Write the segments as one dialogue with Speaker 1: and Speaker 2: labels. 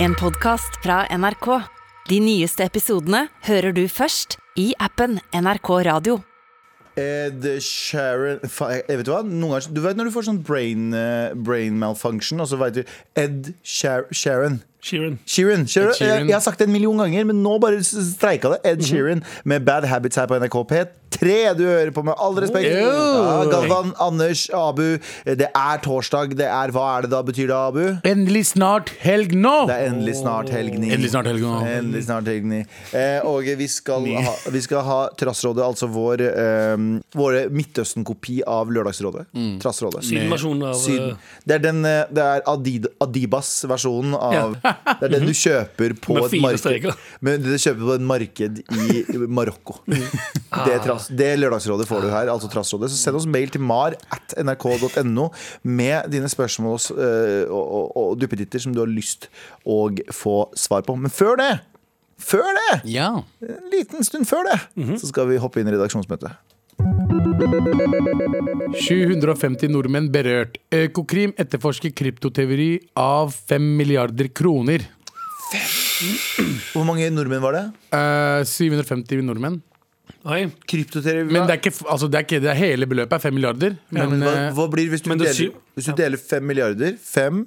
Speaker 1: En podcast fra NRK. De nyeste episodene hører du først i appen NRK Radio.
Speaker 2: Ed Sharon fa- jeg vet hva? Noen ganger, Du vet når du får sånn brain, eh, brain malfunction, og så vet du Ed Shar Sharon.
Speaker 3: Sheeran.
Speaker 2: Sheeran. Sheeran.
Speaker 3: Ed Sheeran. Mhm.
Speaker 2: Jeg, jeg har sagt det en million ganger, men nå bare s- streika det. Ed Sheeran med Bad Habits her på NRK P3. Du hører på med all respekt. Ja, Galvan, Anders, Abu. Det er torsdag. Det er, hva er det da? Betyr det, Abu?
Speaker 3: Endelig snart helg nå!
Speaker 2: Det er endelig snart helgni.
Speaker 3: Endelig snart helg nå.
Speaker 2: Endelig snart helgni. Eh, og vi skal, ha, vi skal ha Trassrådet, altså vår eh, våre Midtøsten-kopi av Lørdagsrådet.
Speaker 3: Mm.
Speaker 2: Trassrådet.
Speaker 3: Sydenversjonen av, eh,
Speaker 2: Syden. Det er, den, eh, det er Adid Adibas-versjonen av Det er den du kjøper på
Speaker 3: Mhm. Med
Speaker 2: et
Speaker 3: fire
Speaker 2: marked
Speaker 3: streker.
Speaker 2: Men du kjøper på et marked i Marokko. Det,
Speaker 4: Ah.
Speaker 2: er trass, det Lørdagsrådet får du her, altså Trassrådet. Så send oss mail til mar at nrk.no med dine spørsmål og, s- eh, og, og, og duppeditter som du har lyst å få svar på. Men før det, før det,
Speaker 3: Ja.
Speaker 2: en liten stund før det,
Speaker 4: Mhm.
Speaker 2: så skal vi hoppe inn i redaksjonsmøtet.
Speaker 4: 750 nordmenn berørt. Økokrim etterforsker kryptoteori av 5 milliarder kroner.
Speaker 2: Hvor mange nordmenn var det?
Speaker 4: Eh, 750 nordmenn.
Speaker 3: Oi.
Speaker 2: Kryptoteori
Speaker 4: Men det er ikke, f- altså det er ikke det er hele beløpet er 5 milliarder. Men,
Speaker 2: Men hva,
Speaker 4: eh,
Speaker 2: hva blir hvis du,
Speaker 3: men det
Speaker 2: deler,
Speaker 3: syv-
Speaker 2: hvis du deler 5 milliarder 5,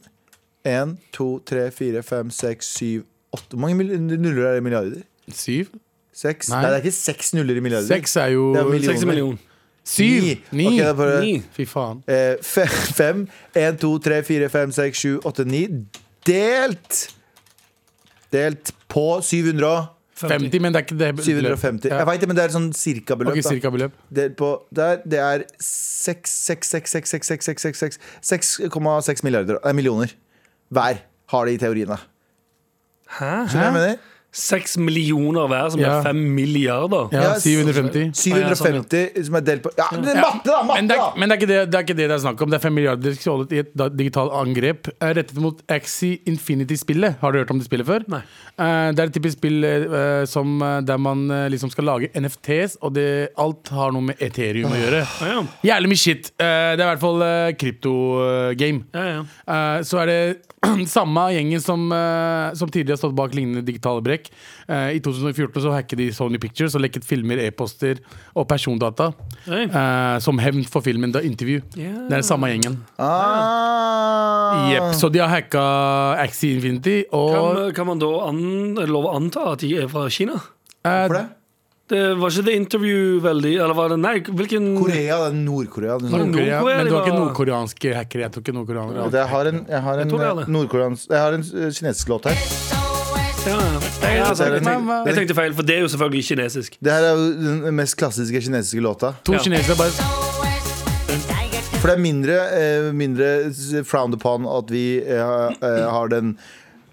Speaker 2: 1, 2, 3, 4, 5, 6, 7, 8 Hvor mange mil- nuller er det i milliarder?
Speaker 4: syv?
Speaker 2: 6? Nei.
Speaker 4: Nei.
Speaker 2: det er ikke 6 nuller i milliarder
Speaker 4: Seks er jo
Speaker 2: Det er million.
Speaker 3: 60 millioner.
Speaker 4: Syv! Ni!
Speaker 2: Ok, da bare
Speaker 3: Ni.
Speaker 4: Fy faen.
Speaker 2: eh, fe- fem, 1, 2, 3, 4, 5, 6, 7, 8, 9 Delt Delt på 700
Speaker 3: 50.
Speaker 4: 50, men det er ikke det beløpet.
Speaker 2: 750 Jeg
Speaker 4: Ja.
Speaker 2: vet det, men det er sånn cirka beløp
Speaker 4: Ok,
Speaker 2: da.
Speaker 4: cirka beløp.
Speaker 2: Delt på der, Det er 6, 6, 6, 6, 6, 6, 6, 6, 6,6 milliarder Nei, millioner Hver har de i teorien da
Speaker 3: Hæ?
Speaker 2: Skjønner du hva jeg mener?
Speaker 3: Seks millioner hver, som
Speaker 4: Ja.
Speaker 3: er fem milliarder.
Speaker 4: Ja,
Speaker 2: Ja,
Speaker 4: 750.
Speaker 2: 750 som er delt på Ja, det er
Speaker 4: Ja.
Speaker 2: matte, da!
Speaker 4: Men
Speaker 2: Matte,
Speaker 4: det, er,
Speaker 2: da!
Speaker 4: men det er ikke det det er, ikke det det er snakk om. Det er 5 milliarder stjålet i et da- digitalt angrep eh, rettet mot Axie Infinity-spillet. Har du hørt om det spillet før?
Speaker 3: Nei.
Speaker 4: Eh, det er et typisk spill eh, som, eh, der man eh, liksom skal lage NFTs, og det, alt har noe med Ethereum å
Speaker 2: Ah.
Speaker 4: gjøre.
Speaker 3: Ja, ja.
Speaker 4: Jævlig mye shit. Eh, det er i hvert fall eh, krypto-game.
Speaker 3: ja, ja.
Speaker 4: Eh, så er det samme gjengen som, eh, som tidligere har stått bak lignende digitale brekk. Eh, I 2014 så hacket de Sony Pictures og lekket filmer, e-poster og persondata.
Speaker 3: Oi.
Speaker 4: eh, som hevn for filmen The Interview.
Speaker 3: Ja.
Speaker 4: Det er den samme gjengen.
Speaker 2: Ah.
Speaker 4: Jep, så de har hacka Axie Infinity og
Speaker 3: Kan, kan man da an, lov å anta at de er fra Kina?
Speaker 4: eh,
Speaker 2: Hvorfor det?
Speaker 3: Det Var ikke det interview veldig Eller var det Nei, hvilken
Speaker 2: Korea, det er Nord-Korea. det er sånn-
Speaker 4: Nordkorea,
Speaker 3: Nordkorea,
Speaker 4: men det var
Speaker 3: de
Speaker 4: ikke
Speaker 3: var-
Speaker 4: nordkoreanske hackere. Jeg tror ikke nordkoreanere
Speaker 2: Jeg har en, jeg har en,
Speaker 3: tror det er det.
Speaker 2: nordkoreans- jeg har en eh, kinesisk låt her.
Speaker 3: Ja, ja. Nei, altså, jeg, tenkte, jeg tenkte feil, for det er jo selvfølgelig kinesisk.
Speaker 2: Det her er jo den mest klassiske kinesiske låta.
Speaker 4: To
Speaker 3: Ja.
Speaker 4: kinesere bare
Speaker 2: For det er mindre, eh, mindre s- frowned upon at vi eh, eh, har den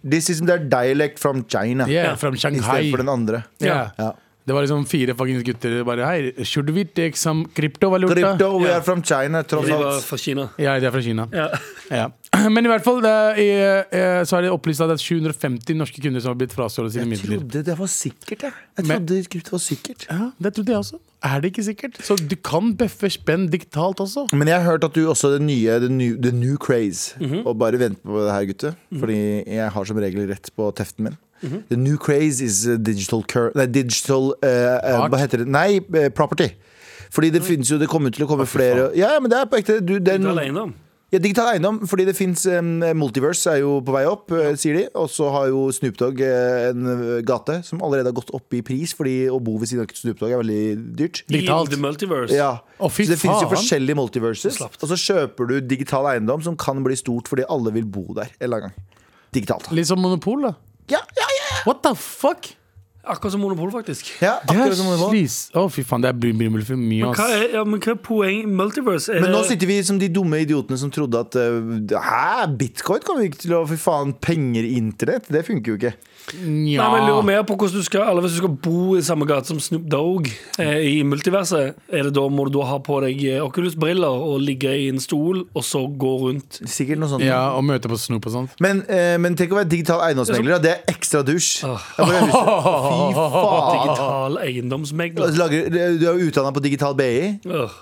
Speaker 2: This is their dialect from China.
Speaker 4: yeah, fra
Speaker 2: I stedet
Speaker 4: Shanghai.
Speaker 2: for den andre.
Speaker 4: Ja.
Speaker 2: Ja.
Speaker 4: Det var liksom fire fuckings gutter bare Hei, should we take some kryptovaluta?
Speaker 2: Crypto, we
Speaker 3: Ja.
Speaker 2: are from China, tross
Speaker 3: De var
Speaker 2: alt.
Speaker 3: fra Kina.
Speaker 4: Ja, de er fra Kina.
Speaker 3: Ja.
Speaker 4: Ja. Men i hvert fall det er, eh, så er det opplyst at det er 750 norske kunder som har blitt frastjålet sine
Speaker 2: Jeg
Speaker 4: midler.
Speaker 2: trodde det var sikkert, jeg. Jeg
Speaker 4: Men-
Speaker 2: trodde krypto var sikkert.
Speaker 4: Ja, Det trodde jeg også. Er det ikke sikkert? Så du kan bøffe spenn diktalt også.
Speaker 2: Men jeg har hørt at du også er det nye, the new, the new craze. Og bare vent på det her, gutter. Fordi jeg har som regel rett på teften min. The new craze is uh, digital cur... Nei, digital eh, eh,
Speaker 4: Art?
Speaker 2: Hva heter det? Nei, eh, property. Fordi det finnes jo, det kommer til å komme flere Ja, ja, men det er på ekte. Du, det er
Speaker 3: Du er
Speaker 2: noen-
Speaker 3: alene om.
Speaker 2: ja, digital eiendom, fordi det fins Multiverse er jo på vei opp, eh, sier de. Og så har jo Snoop Dogg eh, en eh, gate som allerede har gått opp i pris, fordi å bo ved siden av Snoop Dogg er veldig dyrt.
Speaker 3: I
Speaker 4: Digitalt.
Speaker 3: The Multiverse.
Speaker 2: Ja.
Speaker 4: Å, fy
Speaker 2: så det finnes jo
Speaker 4: faen.
Speaker 2: forskjellige multiverses.
Speaker 3: Slapt.
Speaker 2: Og så kjøper du digital eiendom som kan bli stort fordi alle vil bo der en eller annen gang. Digitalt.
Speaker 4: Litt som Monopol, da.
Speaker 2: Ja, ja, ja, ja.
Speaker 4: What the fuck?
Speaker 3: Akkurat som Monopol, faktisk.
Speaker 2: ja
Speaker 4: Det er
Speaker 2: akkurat som det var.
Speaker 4: slis... Å, fy faen, det blir blir for mye,
Speaker 3: Hva
Speaker 4: ass.
Speaker 3: er, ja, men hva er poeng Multiverse? Er
Speaker 2: Men nå
Speaker 3: det-
Speaker 2: sitter vi som de dumme idiotene som trodde at eh, Hæ, bitcoin kommer ikke til å Fy faen, penger i internett? Det funker jo ikke.
Speaker 4: Nja.
Speaker 3: Nei, men jeg lurer mer på hvordan du skal Eller Hvis du skal bo i samme gate som Snoop Dogg eh, i multiverset, er det da, må du da ha på deg eh, Oculus-briller og ligge i en stol og så gå rundt?
Speaker 2: Sikkert noe sånt.
Speaker 4: Ja, og møte på Snoop og sånt.
Speaker 2: Men, eh, men tenk å være digital eiendomsmegler. da. Det er ekstra dusj.
Speaker 4: Ah.
Speaker 2: Jeg bare har lyst til- Fy faen.
Speaker 3: Digital eiendomsmegler.
Speaker 2: Lager- Du er jo utdanna på digital BI.
Speaker 3: Øh.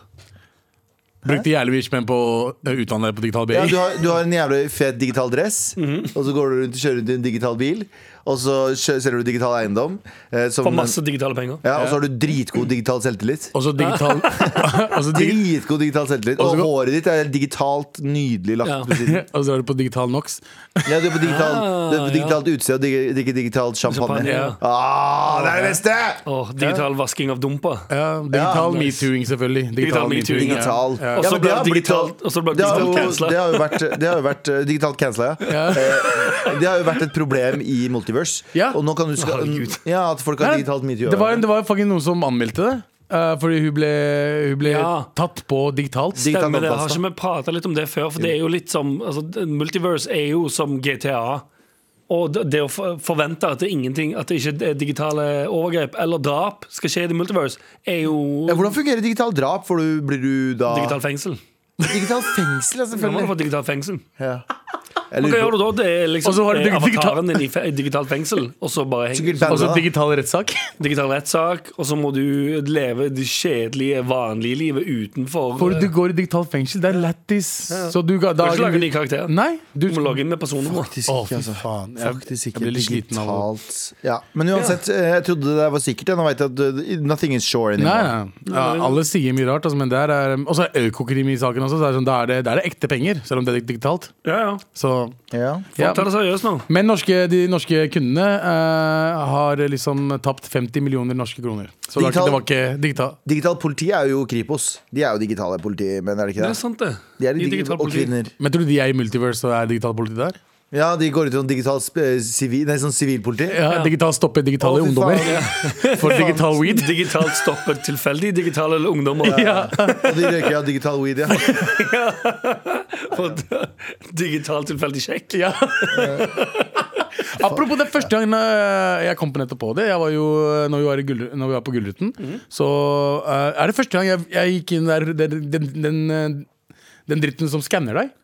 Speaker 4: Brukte jævlig mye spenn på å utdanne deg på digital BI.
Speaker 2: Ja, du, har, du har en jævlig fet digital dress, og så går du rundt og kjører rundt i en digital bil. Og så kjø- selger du digital eiendom. Eh, som,
Speaker 3: For masse digitale penger.
Speaker 2: ja, og så har du dritgod digital selvtillit.
Speaker 4: Og så digital Og så digi-
Speaker 2: Dritgod digital selvtillit. Og
Speaker 4: så går-
Speaker 2: håret ditt er helt digitalt nydelig lagt
Speaker 3: Ja.
Speaker 2: på siden.
Speaker 4: og så er du på digital NOx.
Speaker 2: Ja, du er på digital,
Speaker 3: Ah,
Speaker 2: du er på digitalt utested og dig- drikker digitalt champagne.
Speaker 3: Champagne, ja.
Speaker 2: Ah, det er det beste!
Speaker 3: Åh, digital vasking av dumper.
Speaker 4: Ja,
Speaker 2: Ja,
Speaker 4: digital
Speaker 3: nice.
Speaker 4: metooing, selvfølgelig.
Speaker 3: Digital metooing, ja.
Speaker 2: Digital.
Speaker 3: Og så
Speaker 2: men
Speaker 3: ble
Speaker 2: det har
Speaker 3: det
Speaker 2: blitt-
Speaker 3: digitalt- og så ble det
Speaker 2: det har
Speaker 3: digitalt
Speaker 2: jo-
Speaker 3: cancela.
Speaker 2: Det har jo vært, det har jo vært eh, digitalt cancela, ja. Eh, Det har jo vært et problem i Multiverse.
Speaker 4: Ja.
Speaker 2: Og nå kan du skal,
Speaker 3: Herregud.
Speaker 2: ja, at folk har
Speaker 4: Nei,
Speaker 2: digitalt metoo.
Speaker 4: Det var, det var faktisk noen som anmeldte det. eh, fordi hun ble, hun ble
Speaker 3: Ja.
Speaker 4: tatt på digitalt.
Speaker 2: Digital
Speaker 3: Stemmer det. Har
Speaker 2: oppkast, da.
Speaker 3: ikke vi prata litt om det før? For det er jo litt som altså, Multiverse er jo som GTA. Og det- det å for- forvente at det, er ingenting, at det ikke er digitale overgrep eller drap skal skje i The Multiverse, er jo
Speaker 2: ja, hvordan fungerer digital drap? For du, blir du da
Speaker 3: digitalt fengsel.
Speaker 2: Digital fengsel, ja,
Speaker 3: Da må du få
Speaker 2: selvfølgelig.
Speaker 3: digitalt fengsel.
Speaker 2: Ja. Jeg
Speaker 3: Hva
Speaker 2: lurer
Speaker 3: gjør
Speaker 2: på-
Speaker 3: du da? Det er liksom
Speaker 4: Og så har du
Speaker 3: eh,
Speaker 4: digital-
Speaker 3: avataren din i fe- i digitalt fengsel, og så bare
Speaker 2: Sikkert
Speaker 3: henger
Speaker 2: bandet,
Speaker 4: Altså
Speaker 2: da.
Speaker 4: digital rettssak.
Speaker 3: digital rettssak, og så må du leve det kjedelige, vanlige livet utenfor
Speaker 4: For du
Speaker 3: eh,
Speaker 4: går i digitalt fengsel. Det er lættis. Så du ga
Speaker 3: Du kan ikke lage en ny
Speaker 4: dagen
Speaker 3: karakter. Du
Speaker 4: Nei. Du,
Speaker 3: må logge inn med personnummer.
Speaker 2: Faktisk
Speaker 4: Å,
Speaker 2: ikke,
Speaker 4: fy
Speaker 2: altså.
Speaker 4: faen. Jeg-
Speaker 2: Faktisk
Speaker 4: jeg
Speaker 2: ikke
Speaker 4: ble litt sliten av det.
Speaker 2: digitalt. Ja. Men uansett, eh, jeg trodde det der var sikkert. ja. Nå vet jeg at eh, nothing is sure
Speaker 4: Nei,
Speaker 2: anymore.
Speaker 4: nei. Ja, alle sier mye rart, altså, men der er Og så er økokrim i saken også. Så er det sånn, da, er det, da er det ekte penger, selv om det er digitalt.
Speaker 3: Ja, ja.
Speaker 4: Så
Speaker 2: Ja.
Speaker 4: ja.
Speaker 3: Folk tar det seriøst nå.
Speaker 4: Men norske, de norske kundene eh, har liksom tapt 50 millioner norske kroner. Så det var ikke, det var ikke digital.
Speaker 2: Digitalt politi er jo Kripos. De er jo digitale politi, men er det ikke
Speaker 3: Det
Speaker 2: det?
Speaker 3: er sant, det.
Speaker 2: De er
Speaker 3: I
Speaker 2: jo digi-
Speaker 3: digital
Speaker 2: og
Speaker 3: politi.
Speaker 2: kvinner.
Speaker 4: Men tror du de er i Multiverse og er digital politi der?
Speaker 2: Ja, de går ut i sånn digital sp- eh, sivil, nei, sånn sivilpoliti.
Speaker 4: Ja, Digital stoppe digitale
Speaker 2: Å, fy
Speaker 4: ungdommer
Speaker 2: faen, ja.
Speaker 4: for digital weed?
Speaker 3: Digitalt stoppet tilfeldig digitale ungdommer
Speaker 2: Og de røyker av digital weed, ja.
Speaker 3: for d- digitalt tilfeldig sjekk.
Speaker 4: Ja. Apropos det første gangen eh, jeg kom på nettopp på det. Jeg var jo, eh, når, vi var i Gull, når vi var på Gullruten, så eh, er det første gang jeg, jeg gikk inn der den, den, den, eh, den dritten som skanner deg.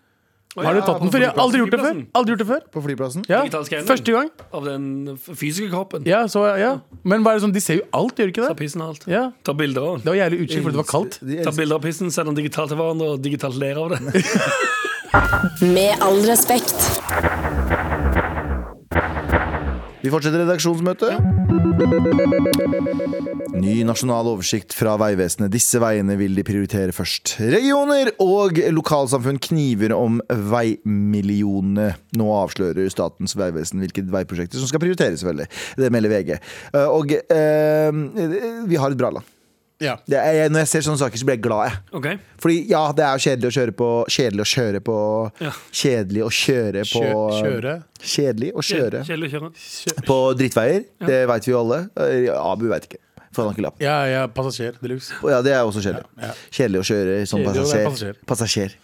Speaker 4: Har du
Speaker 2: ja,
Speaker 4: tatt den
Speaker 2: på
Speaker 4: før? Jeg har aldri gjort det før.
Speaker 3: flyplassen.
Speaker 4: Aldri gjort det før.
Speaker 2: På flyplassen.
Speaker 4: Ja.
Speaker 3: Digital skanner.
Speaker 4: Første gang.
Speaker 3: Av den f- fysiske kroppen.
Speaker 4: Ja, så, ja. Men hva er det sånn, de ser jo alt, gjør de ikke
Speaker 3: Ta
Speaker 4: det?
Speaker 3: pissen og alt.
Speaker 4: Ja.
Speaker 3: Ta bilder av den.
Speaker 4: Det var jævlig utskilt, for det var kaldt.
Speaker 2: De
Speaker 3: Ta
Speaker 2: elsker-
Speaker 3: bilder av pissen, send den digitalt til hverandre og digitalt ler av det.
Speaker 1: Med all respekt.
Speaker 2: Vi fortsetter redaksjonsmøtet. Ny nasjonal oversikt fra Vegvesenet. Disse veiene vil de prioritere først. Regioner og lokalsamfunn kniver om veimillionene. Nå avslører Statens vegvesen hvilke veiprosjekter som skal prioriteres, selvfølgelig. Det melder VG. Eh, Og eh, vi har et bra land.
Speaker 4: Ja.
Speaker 2: Det er, jeg- når jeg ser sånne saker, så blir jeg glad, jeg.
Speaker 3: Ok,
Speaker 2: Fordi ja, det er jo kjedelig å kjøre på Kjedelig å kjøre på
Speaker 3: Ja.
Speaker 2: Kjedelig å kjøre på um,
Speaker 4: Kjø- kjøre?
Speaker 2: Kjedelig å kjøre
Speaker 3: Kjedelig å kjøre.
Speaker 2: på drittveier. Det veit vi jo alle. Eh, Abu veit ikke. For han har ikke lapp.
Speaker 4: Ja, ja, passasjer de luxe.
Speaker 2: Ja, det er også kjedelig. Kjedelig å kjøre som
Speaker 4: Kjedelig å være
Speaker 2: passasjer. passasjer.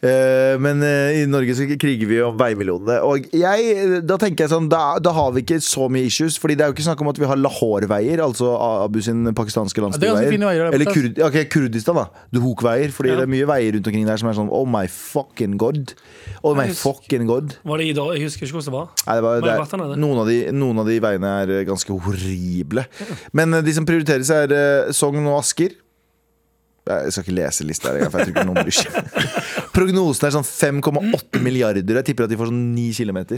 Speaker 2: Eh, men eh, i Norge så kriger vi om veimillionene. Og jeg, da tenker jeg sånn da, da har vi ikke så mye issues. Fordi det er jo ikke snakk om at vi har Lahore-veier, altså Abu sin pakistanske
Speaker 4: det er ganske
Speaker 2: landsbyveier.
Speaker 4: fine veier der borte,
Speaker 2: Eller
Speaker 4: ass.
Speaker 2: Kurd, ja, ok, Kurdistan, da. Duhok-veier. Fordi
Speaker 3: Ja.
Speaker 2: det er mye veier rundt omkring der som er sånn oh my fucking god. Oh my
Speaker 3: Jeg husker-
Speaker 2: fucking god.
Speaker 3: Var det i dag? Jeg husker ikke hvordan det var.
Speaker 2: Nei, det var,
Speaker 3: Men
Speaker 2: det
Speaker 3: vatten er
Speaker 2: er,
Speaker 3: det.
Speaker 2: noen, av de, noen av de veiene er eh, ganske horrible. Men eh, de som prioriteres, er eh, Sogn og Asker. Nei, Jeg skal ikke lese lista her, engang, for jeg tror ikke noen bryr seg. Prognosen er sånn 5,8 milliarder. Jeg tipper at de får sånn 9 kilometer.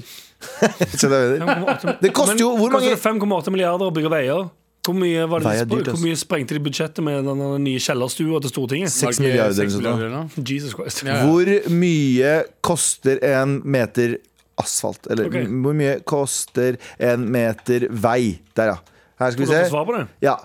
Speaker 2: Skjønner du hva jeg mener?
Speaker 3: 5,8
Speaker 2: Det koster jo hvor mange
Speaker 3: Koster det 5,8 milliarder å bygge veier? Hvor mye, var det,
Speaker 2: Veier er
Speaker 3: de spr-
Speaker 2: dyrt, ass.
Speaker 3: hvor mye sprengte de budsjettet med den der nye kjellerstua til Stortinget?
Speaker 2: Seks milliarder eller sånt, da.
Speaker 4: noe.
Speaker 3: Jesus Christ.
Speaker 4: Ja.
Speaker 2: Hvor mye koster en meter asfalt? Eller
Speaker 3: Ok.
Speaker 2: m- hvor mye koster en meter vei? Der, ja. Her skal
Speaker 3: Får
Speaker 2: vi
Speaker 3: dere
Speaker 2: se.
Speaker 3: svar på det?
Speaker 2: Ja.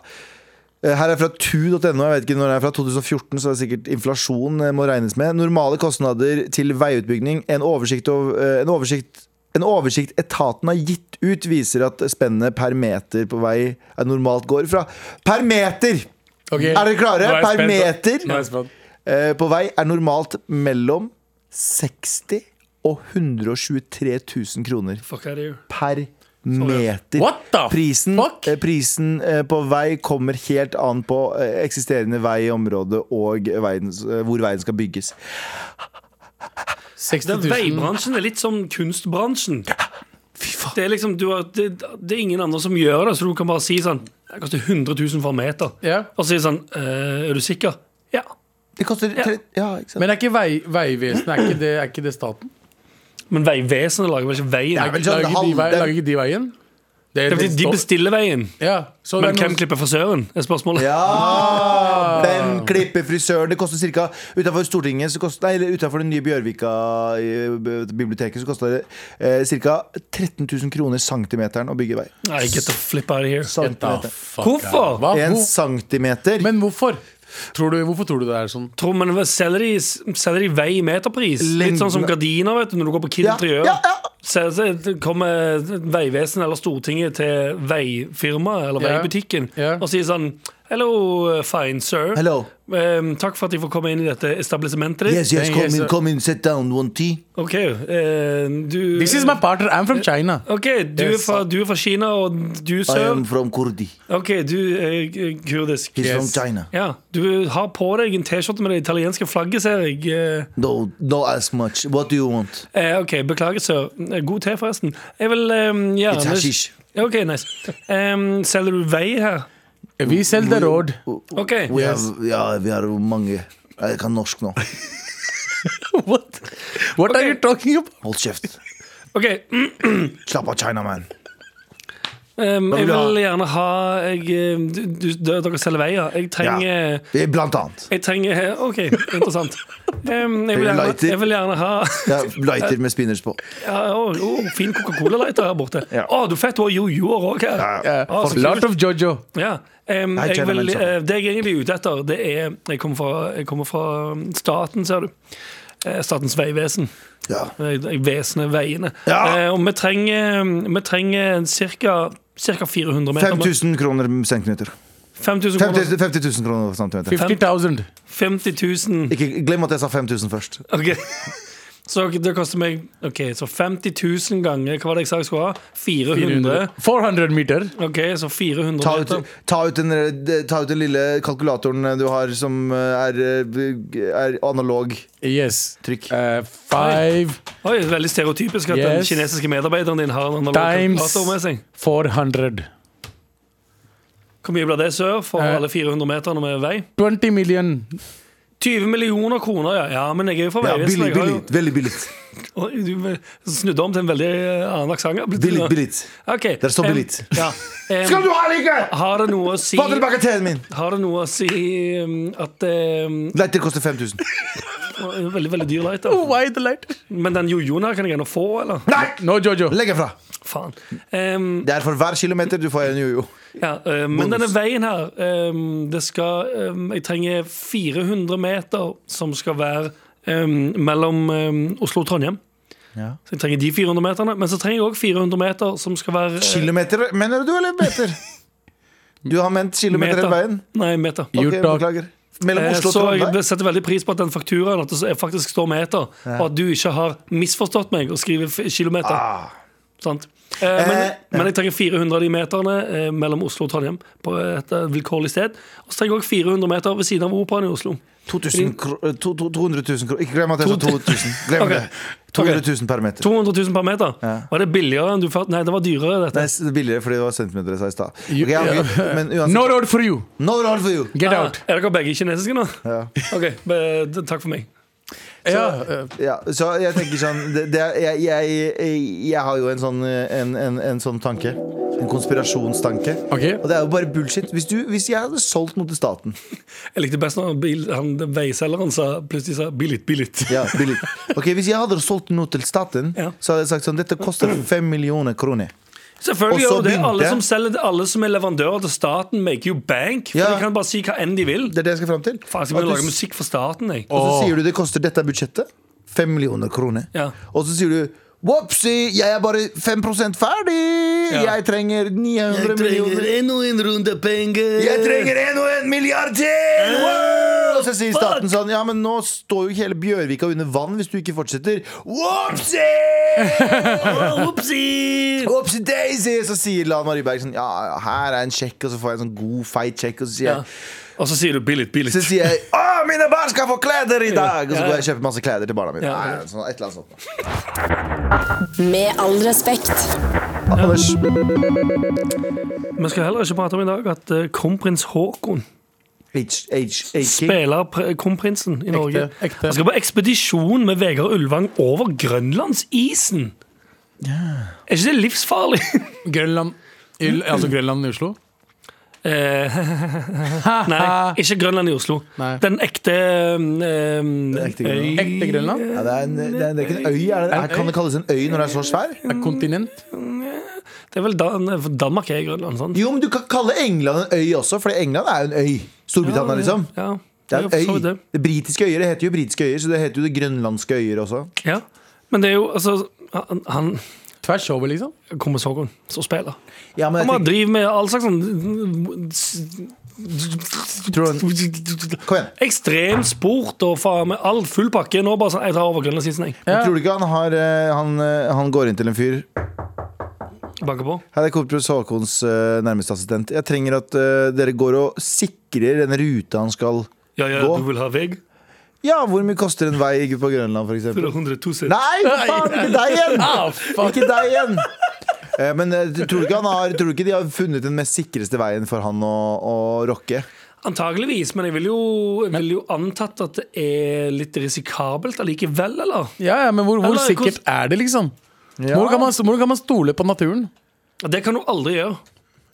Speaker 2: Eh, Her er fra tu.no. Jeg vet ikke når det er fra 2014, så er det sikkert inflasjon eh, må regnes med. Normale kostnader til veiutbygging. En oversikt, ov- eh, en oversikt en oversikt etaten har gitt ut, viser at spennet per meter på vei er normalt går fra Per meter!
Speaker 4: Ok.
Speaker 2: Er dere klare?
Speaker 4: Nå jeg
Speaker 2: Per
Speaker 4: spent, da.
Speaker 2: meter?
Speaker 4: Nå er jeg spent.
Speaker 2: eh, på vei er normalt mellom 60 og 123 000 kroner
Speaker 3: Fuck out of here.
Speaker 2: per meter.
Speaker 4: What the
Speaker 2: Prisen,
Speaker 4: fuck?
Speaker 2: eh, prisen eh, på vei kommer helt an på eh, eksisterende vei i området og veien, eh, hvor veien skal bygges.
Speaker 4: 60
Speaker 3: Den
Speaker 4: 000.
Speaker 3: veibransjen er litt som kunstbransjen. Det er liksom, du har, det, det er ingen andre som gjør det, så du kan bare si sånn Det koster 100 000 for en meter.
Speaker 4: Ja.
Speaker 3: Og så sier sånn «Eh, Er du sikker? Ja.
Speaker 2: Det koster tre, ja, ikke sant?
Speaker 4: Men er ikke vei, Vegvesenet er ikke det, er ikke det staten?
Speaker 3: Men Vegvesenet lager vel ikke
Speaker 2: Nei,
Speaker 3: veien?
Speaker 2: vel-
Speaker 4: Lager ikke de, vei,
Speaker 2: halv-
Speaker 4: lager ikke de veien? Det
Speaker 3: Det er fordi de bestiller veien.
Speaker 4: ja. Så det
Speaker 3: Men
Speaker 4: er
Speaker 3: hvem
Speaker 4: noen,
Speaker 3: klipper frisøren? Er spørsmålet.
Speaker 4: Ah!
Speaker 2: Ja! Hvem klipper frisøren? Det koster ca. Utenfor Stortinget så koster, Nei, eller utenfor det nye Bjørvika-biblioteket så koster det eh, ca. 13 000 kroner centimeteren å bygge vei.
Speaker 3: Nei, get the flip out of here.
Speaker 4: Da,
Speaker 2: Centimeter.
Speaker 4: fuck,
Speaker 3: Hvorfor?
Speaker 4: Hva?
Speaker 2: En
Speaker 4: Hvor,
Speaker 2: centimeter.
Speaker 4: men hvorfor? Tror du, hvorfor tror du det er sånn?
Speaker 3: Tror man selger de, selger de vei i meterpris? Litt sånn som
Speaker 2: Lengden-
Speaker 3: gardiner, vet du, når du går på Kid
Speaker 2: Ja,
Speaker 3: Interiør.
Speaker 2: ja, ja.
Speaker 3: Så- så kommer Vegvesenet eller Stortinget til veifirmaet eller
Speaker 4: Ja.
Speaker 3: veibutikken
Speaker 4: Ja.
Speaker 3: og sier sånn Hello, fine sir.
Speaker 2: Hello.
Speaker 3: Ehm, takk for at jeg får komme inn i dette establishementet ditt.
Speaker 2: Yes, yes, come in, come in, sit down, one tea.
Speaker 3: OK, eh, du
Speaker 4: This is my partner, I'm from China.
Speaker 3: OK, du er,
Speaker 4: Yes.
Speaker 3: fra, du er fra Kina, og du,
Speaker 2: I
Speaker 3: sir
Speaker 2: am from Kurdi.
Speaker 3: OK, du er kurdisk.
Speaker 2: He's
Speaker 4: Yes.
Speaker 2: from China.
Speaker 3: Ja, Du har på deg en T-skjorte med det italienske flagget, ser jeg. Eh,
Speaker 2: No, no ask much. What do you want?
Speaker 3: Eh, ok, beklager, sir. Eh, God te, forresten. Jeg vil ehm, gjerne
Speaker 2: It's hashish.
Speaker 3: Ok, nice. Ehm, selger du vei her?
Speaker 4: Vi selger råd.
Speaker 3: Ok.
Speaker 2: We have, ja, vi har mange. Jeg kan norsk nå.
Speaker 4: What? What are you talking about?
Speaker 2: Hold kjeft.
Speaker 3: ok mm,
Speaker 2: Slapp av, Chinaman.
Speaker 3: ehm,
Speaker 2: vil
Speaker 3: Jeg
Speaker 2: du ha?
Speaker 3: vil gjerne ha jeg, ehm, du, du, Dere selger veier. Jeg
Speaker 2: Ja.
Speaker 3: trenger
Speaker 2: Blant annet.
Speaker 3: Jeg trenger eh, OK, interessant. Ehm, jeg,
Speaker 2: Trenger
Speaker 3: vil gjerne,
Speaker 2: lighter?
Speaker 3: jeg vil gjerne ha
Speaker 2: Ja, lighter med spinners på.
Speaker 3: ja, å, å, Fin Coca-Cola-lighter her borte. Å,
Speaker 2: Ja.
Speaker 3: du fett, du har jojoer òg her.
Speaker 4: Yeah.
Speaker 3: Ah, så
Speaker 4: Lot of jojo.
Speaker 3: Ja. ehm,
Speaker 2: Nei,
Speaker 3: jeg
Speaker 2: kjenner
Speaker 3: vil,
Speaker 2: meg ikke
Speaker 3: eh, det jeg egentlig er ute etter, det er Jeg kommer fra, jeg kommer fra staten, ser du. Eh, Statens vegvesen.
Speaker 2: Ja.
Speaker 3: Eh, Vesenet, veiene.
Speaker 2: Ja.
Speaker 3: Eh, og vi trenger, vi trenger cirka, cirka 400 meter.
Speaker 2: 5000 kroner centimeter.
Speaker 3: 5000 kroner.
Speaker 2: 50 000 kroner centimeter.
Speaker 4: 50,000.
Speaker 3: 50 000.
Speaker 2: Ikke glem at jeg sa 5000 først.
Speaker 3: Ok. Så det koster meg Ok, så 50 000 ganger Hva var det jeg sa jeg skulle ha? 400.
Speaker 4: 400 meter.
Speaker 3: Ok, så 400
Speaker 2: Ta ut,
Speaker 3: meter.
Speaker 2: ta, ut den, ta ut den lille kalkulatoren du har som eh, er, eh, er analog
Speaker 4: Yes.
Speaker 2: trykk.
Speaker 4: Eh, five
Speaker 3: Oi, veldig stereotypisk at den
Speaker 4: Yes.
Speaker 3: kinesiske medarbeideren din har en analog
Speaker 4: times
Speaker 3: kalkulator med seg.
Speaker 4: 400.
Speaker 3: Hvor mye blir det sør for
Speaker 4: Eh.
Speaker 3: alle 400 meterne med vei?
Speaker 4: 20 million.
Speaker 3: 20 millioner kroner, ja. ja men jeg er jo fra
Speaker 2: Ja,
Speaker 3: Vegvesenet.
Speaker 2: billig,
Speaker 3: jeg har
Speaker 2: billig,
Speaker 3: jo-
Speaker 2: veldig billig.
Speaker 3: Oi, Du snudde om til en veldig eh, annen aksent. ja.
Speaker 2: billig, billig.
Speaker 3: Ok,
Speaker 2: Der står
Speaker 3: em,
Speaker 2: billig.
Speaker 3: Ja, em,
Speaker 2: Skal du ha like!
Speaker 3: har det noe å si
Speaker 2: Få tilbake teen min!
Speaker 3: Har det noe å si em, at em,
Speaker 2: Lighter koster 5000.
Speaker 3: å, en Veldig, veldig dyr lighter.
Speaker 4: Why the light?
Speaker 3: Men den jojoen her kan jeg gjerne få, eller?
Speaker 2: Nei!
Speaker 4: No jojo.
Speaker 2: Legg den fra.
Speaker 3: Faen. Em,
Speaker 2: Det er for hver kilometer du får en jojo.
Speaker 3: ja, em, men denne veien her em, Det skal em, Jeg trenger 400 meter som skal være em, mellom em, Oslo og Trondheim.
Speaker 2: Ja.
Speaker 3: Så jeg trenger de 400 meterne. Men så trenger jeg òg 400 meter som skal være eh,
Speaker 2: Kilometer mener du, eller meter? Du har ment kilometer hele veien?
Speaker 3: eh, Nei, meter.
Speaker 2: Ok,
Speaker 4: Gjort av-
Speaker 2: beklager. Mellom
Speaker 3: Eh,
Speaker 2: Oslo og
Speaker 3: Så
Speaker 2: Trondheim?
Speaker 3: jeg setter veldig pris på at den fakturaen at det så- faktisk står meter, og at du ikke har misforstått meg og skriver f- kilometer.
Speaker 2: Ah.
Speaker 3: Sant? Eh, men,
Speaker 2: Eh,
Speaker 3: men jeg trenger 400 av de meterne eh, mellom Oslo og Trondheim på et eh, vilkårlig sted. Og så trenger jeg òg 400 meter ved siden av Operaen i Oslo.
Speaker 2: 2000 kro- eh, to- to- 200 000 kroner. Ikke glem at jeg sa 2000. Glem
Speaker 3: Ok.
Speaker 2: det. 200 000 per meter.
Speaker 3: 200 000 per meter. Var det billigere enn du fant? Nei, det var dyrere,
Speaker 2: Nei,
Speaker 3: dette.
Speaker 2: s- billigere fordi det var centimeter jeg sa i stad.
Speaker 4: You-
Speaker 2: Ok, jeg angrer, men uansett
Speaker 4: No road for you.
Speaker 2: No roll for you!
Speaker 4: Get
Speaker 3: Ah,
Speaker 4: out.
Speaker 3: er dere begge kinesiske nå?
Speaker 2: Ja.
Speaker 3: OK, be, d- takk for meg.
Speaker 4: Ja, eh,
Speaker 2: Ja, så jeg tenker sånn det, det, er- jeg, jeg, jeg, jeg har jo en sånn, eh, en, en, en sånn tanke. En konspirasjonstanke.
Speaker 4: Ok.
Speaker 2: Og det er jo bare bullshit. Hvis, du, hvis jeg hadde solgt noe til staten
Speaker 3: Jeg likte best når bil, han, den veiselgeren sa plutselig sa 'billig, billig'.
Speaker 2: ja, billig. Ok, Hvis jeg hadde solgt noe til staten,
Speaker 3: Ja.
Speaker 2: så hadde jeg sagt sånn Dette koster fem millioner kroner.
Speaker 3: Selvfølgelig
Speaker 2: Og så
Speaker 3: gjør det
Speaker 2: begynte-
Speaker 3: alle som, selger, alle som er leverandører til staten, make you bank. For
Speaker 2: Ja.
Speaker 3: De kan bare si hva enn de vil.
Speaker 2: Det er det jeg skal fram til.
Speaker 3: Faen, skal vi
Speaker 2: At du-
Speaker 3: lage musikk for staten, jeg?
Speaker 2: Og så
Speaker 4: Åh.
Speaker 2: sier du det koster dette er budsjettet. Fem millioner kroner.
Speaker 3: Ja.
Speaker 2: Og så sier du Wopsi, jeg er bare 5 ferdig!
Speaker 3: Ja.
Speaker 2: Jeg trenger 900 millioner. Jeg trenger en og en milliard
Speaker 3: Eh,
Speaker 2: til! Wow! Og så sier staten sånn Ja, men nå står jo hele Bjørvika under vann hvis du ikke fortsetter. Wopsi! Wopsi daisy! Så sier Lan Marie Berg sånn Ja, her er en sjekk, og så får jeg en sånn god, feit sjekk, og så sier
Speaker 3: Ja.
Speaker 2: jeg
Speaker 3: Og så sier du billig, billig.
Speaker 2: så sier jeg 'Å, mine barn skal få klær i dag!' Og så
Speaker 3: Ja, ja.
Speaker 2: går jeg og kjøper masse klær til barna mine.
Speaker 3: Ja, ja.
Speaker 2: Nei, sånn, et eller annet sånt
Speaker 1: Med all respekt.
Speaker 2: Anders.
Speaker 3: Vi skal heller ikke prate om i dag at eh, kronprins Haakon
Speaker 2: H- H- H-King.
Speaker 3: Spiller pr- kronprinsen i Norge.
Speaker 4: ekte.
Speaker 3: Han skal på ekspedisjon med Vegard Ulvang over grønlandsisen! Er ikke det livsfarlig?
Speaker 4: Grønland i, Altså Grønland i Oslo?
Speaker 3: Eh, Nei, ikke Grønland i Oslo.
Speaker 4: Nei.
Speaker 3: Den ekte um,
Speaker 2: ekte Grønland.
Speaker 4: Ekte Grønland?
Speaker 2: Ja, det, er en, det, er, det er ikke en øy? Er det,
Speaker 4: En
Speaker 2: kan
Speaker 4: øy?
Speaker 2: det kalles en øy når det er så svær?
Speaker 4: Er kontinent?
Speaker 3: Det er vel Dan eh, Danmark er Grønland, sant?
Speaker 2: Jo, men du kan kalle England en øy også, for England er jo en øy. Storbritannia, liksom.
Speaker 3: Ja,
Speaker 2: Det er
Speaker 3: for så
Speaker 2: en øy.
Speaker 3: vidt det.
Speaker 2: Det britiske øyer det heter jo britiske øyer, så det heter jo det grønlandske øyer også.
Speaker 3: Ja. Men det er jo altså Han, han
Speaker 4: Tvers over, liksom?
Speaker 3: kommer så godt som spiller.
Speaker 2: Ja, men
Speaker 3: Han
Speaker 2: jeg
Speaker 3: bare
Speaker 2: tenker,
Speaker 3: driver med all slags sånn
Speaker 2: Tror kom igjen.
Speaker 3: Ekstrem sport og faen med all full pakke. Nå bare sånn Jeg tar over Grønlandsisen, jeg.
Speaker 2: Men Tror du ikke han har eh, Han, eh, han går inn til en fyr
Speaker 3: Banker på.
Speaker 2: Hei, det er Korpus Håkons eh, nærmeste assistent. Jeg trenger at eh, dere går og sikrer den ruta han skal
Speaker 3: Ja, ja,
Speaker 2: Gå.
Speaker 3: du vil ha vegg?
Speaker 2: Ja, hvor mye koster en vei på Grønland, for eksempel?
Speaker 3: 400 000.
Speaker 2: Nei, faen, ikke deg igjen!
Speaker 4: Ah, fuck.
Speaker 2: Ikke deg igjen! Eh, Men eh, tror du, ikke han har, tror du ikke de har funnet den mest sikreste veien for han å, å rocke?
Speaker 3: Antageligvis, men jeg vil jo, jeg vil jo antatt at det er litt risikabelt allikevel, eller?
Speaker 4: Ja, ja, men hvor, hvor
Speaker 3: Eller
Speaker 4: sikkert er det, liksom? Hvor kan, man, hvor kan man stole på naturen?
Speaker 3: Det kan du aldri gjøre.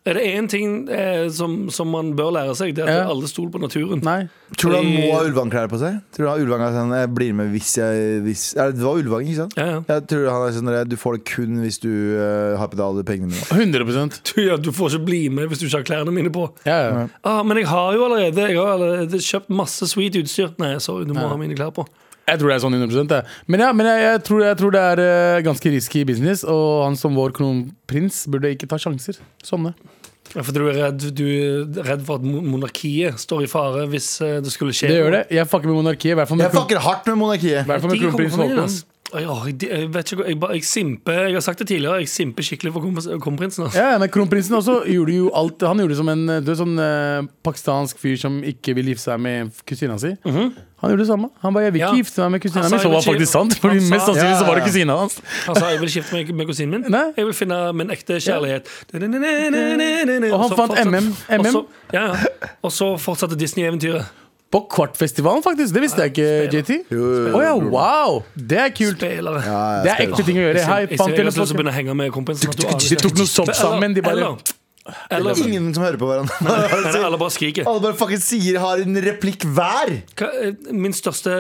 Speaker 3: Er det én ting eh, som, som man bør lære seg, det er at
Speaker 4: Ja.
Speaker 3: alle stoler på naturen.
Speaker 4: Nei.
Speaker 2: Tror du han må ha ulvangklær på seg? Tror du han ulvang er sånn, jeg blir med hvis jeg hvis, er det, det var ulvang, ikke sant?
Speaker 3: Ja, ja.
Speaker 2: Jeg tror han er sånn, du får det kun hvis du eh, har pedaler pengene mine.
Speaker 4: 100
Speaker 3: Du, ja, du får ikke bli med hvis du ikke har klærne mine på.
Speaker 4: ja, ja.
Speaker 3: Ah, men jeg har jo allerede, jeg har allerede kjøpt masse sweet utstyr. Nei, sorry, du må ha mine klær på.
Speaker 4: Jeg tror det er sånn 100 jeg. Men, ja, men jeg, jeg, tror, jeg tror det er eh, ganske risky business, og han som vår kronprins burde ikke ta sjanser. Sånne.
Speaker 3: Ja, for du er, redd, du er redd for at mon- monarkiet står i fare hvis eh, det skulle skje.
Speaker 4: Det gjør det. Jeg fucker med monarkiet, i hvert fall med,
Speaker 2: Jeg
Speaker 4: kron,
Speaker 2: fucker hardt med monarkiet.
Speaker 4: i hvert fall
Speaker 3: De
Speaker 4: med
Speaker 3: kommer altså.
Speaker 4: kronprins
Speaker 3: fra min,
Speaker 4: Haakon.
Speaker 3: ass. Oi, oi, de- Jeg vet ikke, hva- jeg, bare- jeg simper, jeg har sagt det tidligere, jeg simper skikkelig for kompris- kronprinsen. ass.
Speaker 4: Ja, ja, men kronprinsen også gjorde jo alt Han gjorde det som en eh, du vet, sånn eh, pakistansk fyr som ikke vil gifte seg med kusina si. Han gjorde det samme. Han bare 'jeg vil ikke
Speaker 3: Mhm. Ja.
Speaker 4: gifte meg med kusina
Speaker 3: Han
Speaker 4: mi',
Speaker 3: sa
Speaker 4: så
Speaker 3: jo
Speaker 4: var
Speaker 3: ikke-
Speaker 4: faktisk sant. Fordi
Speaker 3: han sa-
Speaker 4: mest sannsynlig så var det
Speaker 2: Ja, ja,
Speaker 4: kusina hans.
Speaker 3: Han sa jeg vil skifte meg med kusinen min.
Speaker 4: Nei.
Speaker 3: Jeg vil finne min ekte kjærlighet.
Speaker 4: Og han
Speaker 3: så
Speaker 4: fant
Speaker 3: fortsatte-
Speaker 4: MM.
Speaker 3: Og så, ja, ja. og så fortsatte Disney-eventyret.
Speaker 4: På Kvartfestivalen, faktisk. Det visste jeg ikke, JT. Å ja, wow! Det er kult.
Speaker 3: Spillere.
Speaker 2: Ja, jeg
Speaker 4: Det er
Speaker 2: spiller.
Speaker 4: ekte ting å gjøre. Hei,
Speaker 3: jeg
Speaker 4: fant
Speaker 3: ser
Speaker 4: dere
Speaker 3: jeg plutselig
Speaker 4: på-
Speaker 3: begynner å henge med kompisen. at du aner
Speaker 4: De
Speaker 3: ikke.
Speaker 4: tok noe sopp sammen. De bare
Speaker 3: Eller, eller, eller,
Speaker 2: Ingen som hører på hverandre.
Speaker 3: alle bare skriker.
Speaker 2: Alle bare fucking sier har en replikk hver!
Speaker 3: Hva, eh, min største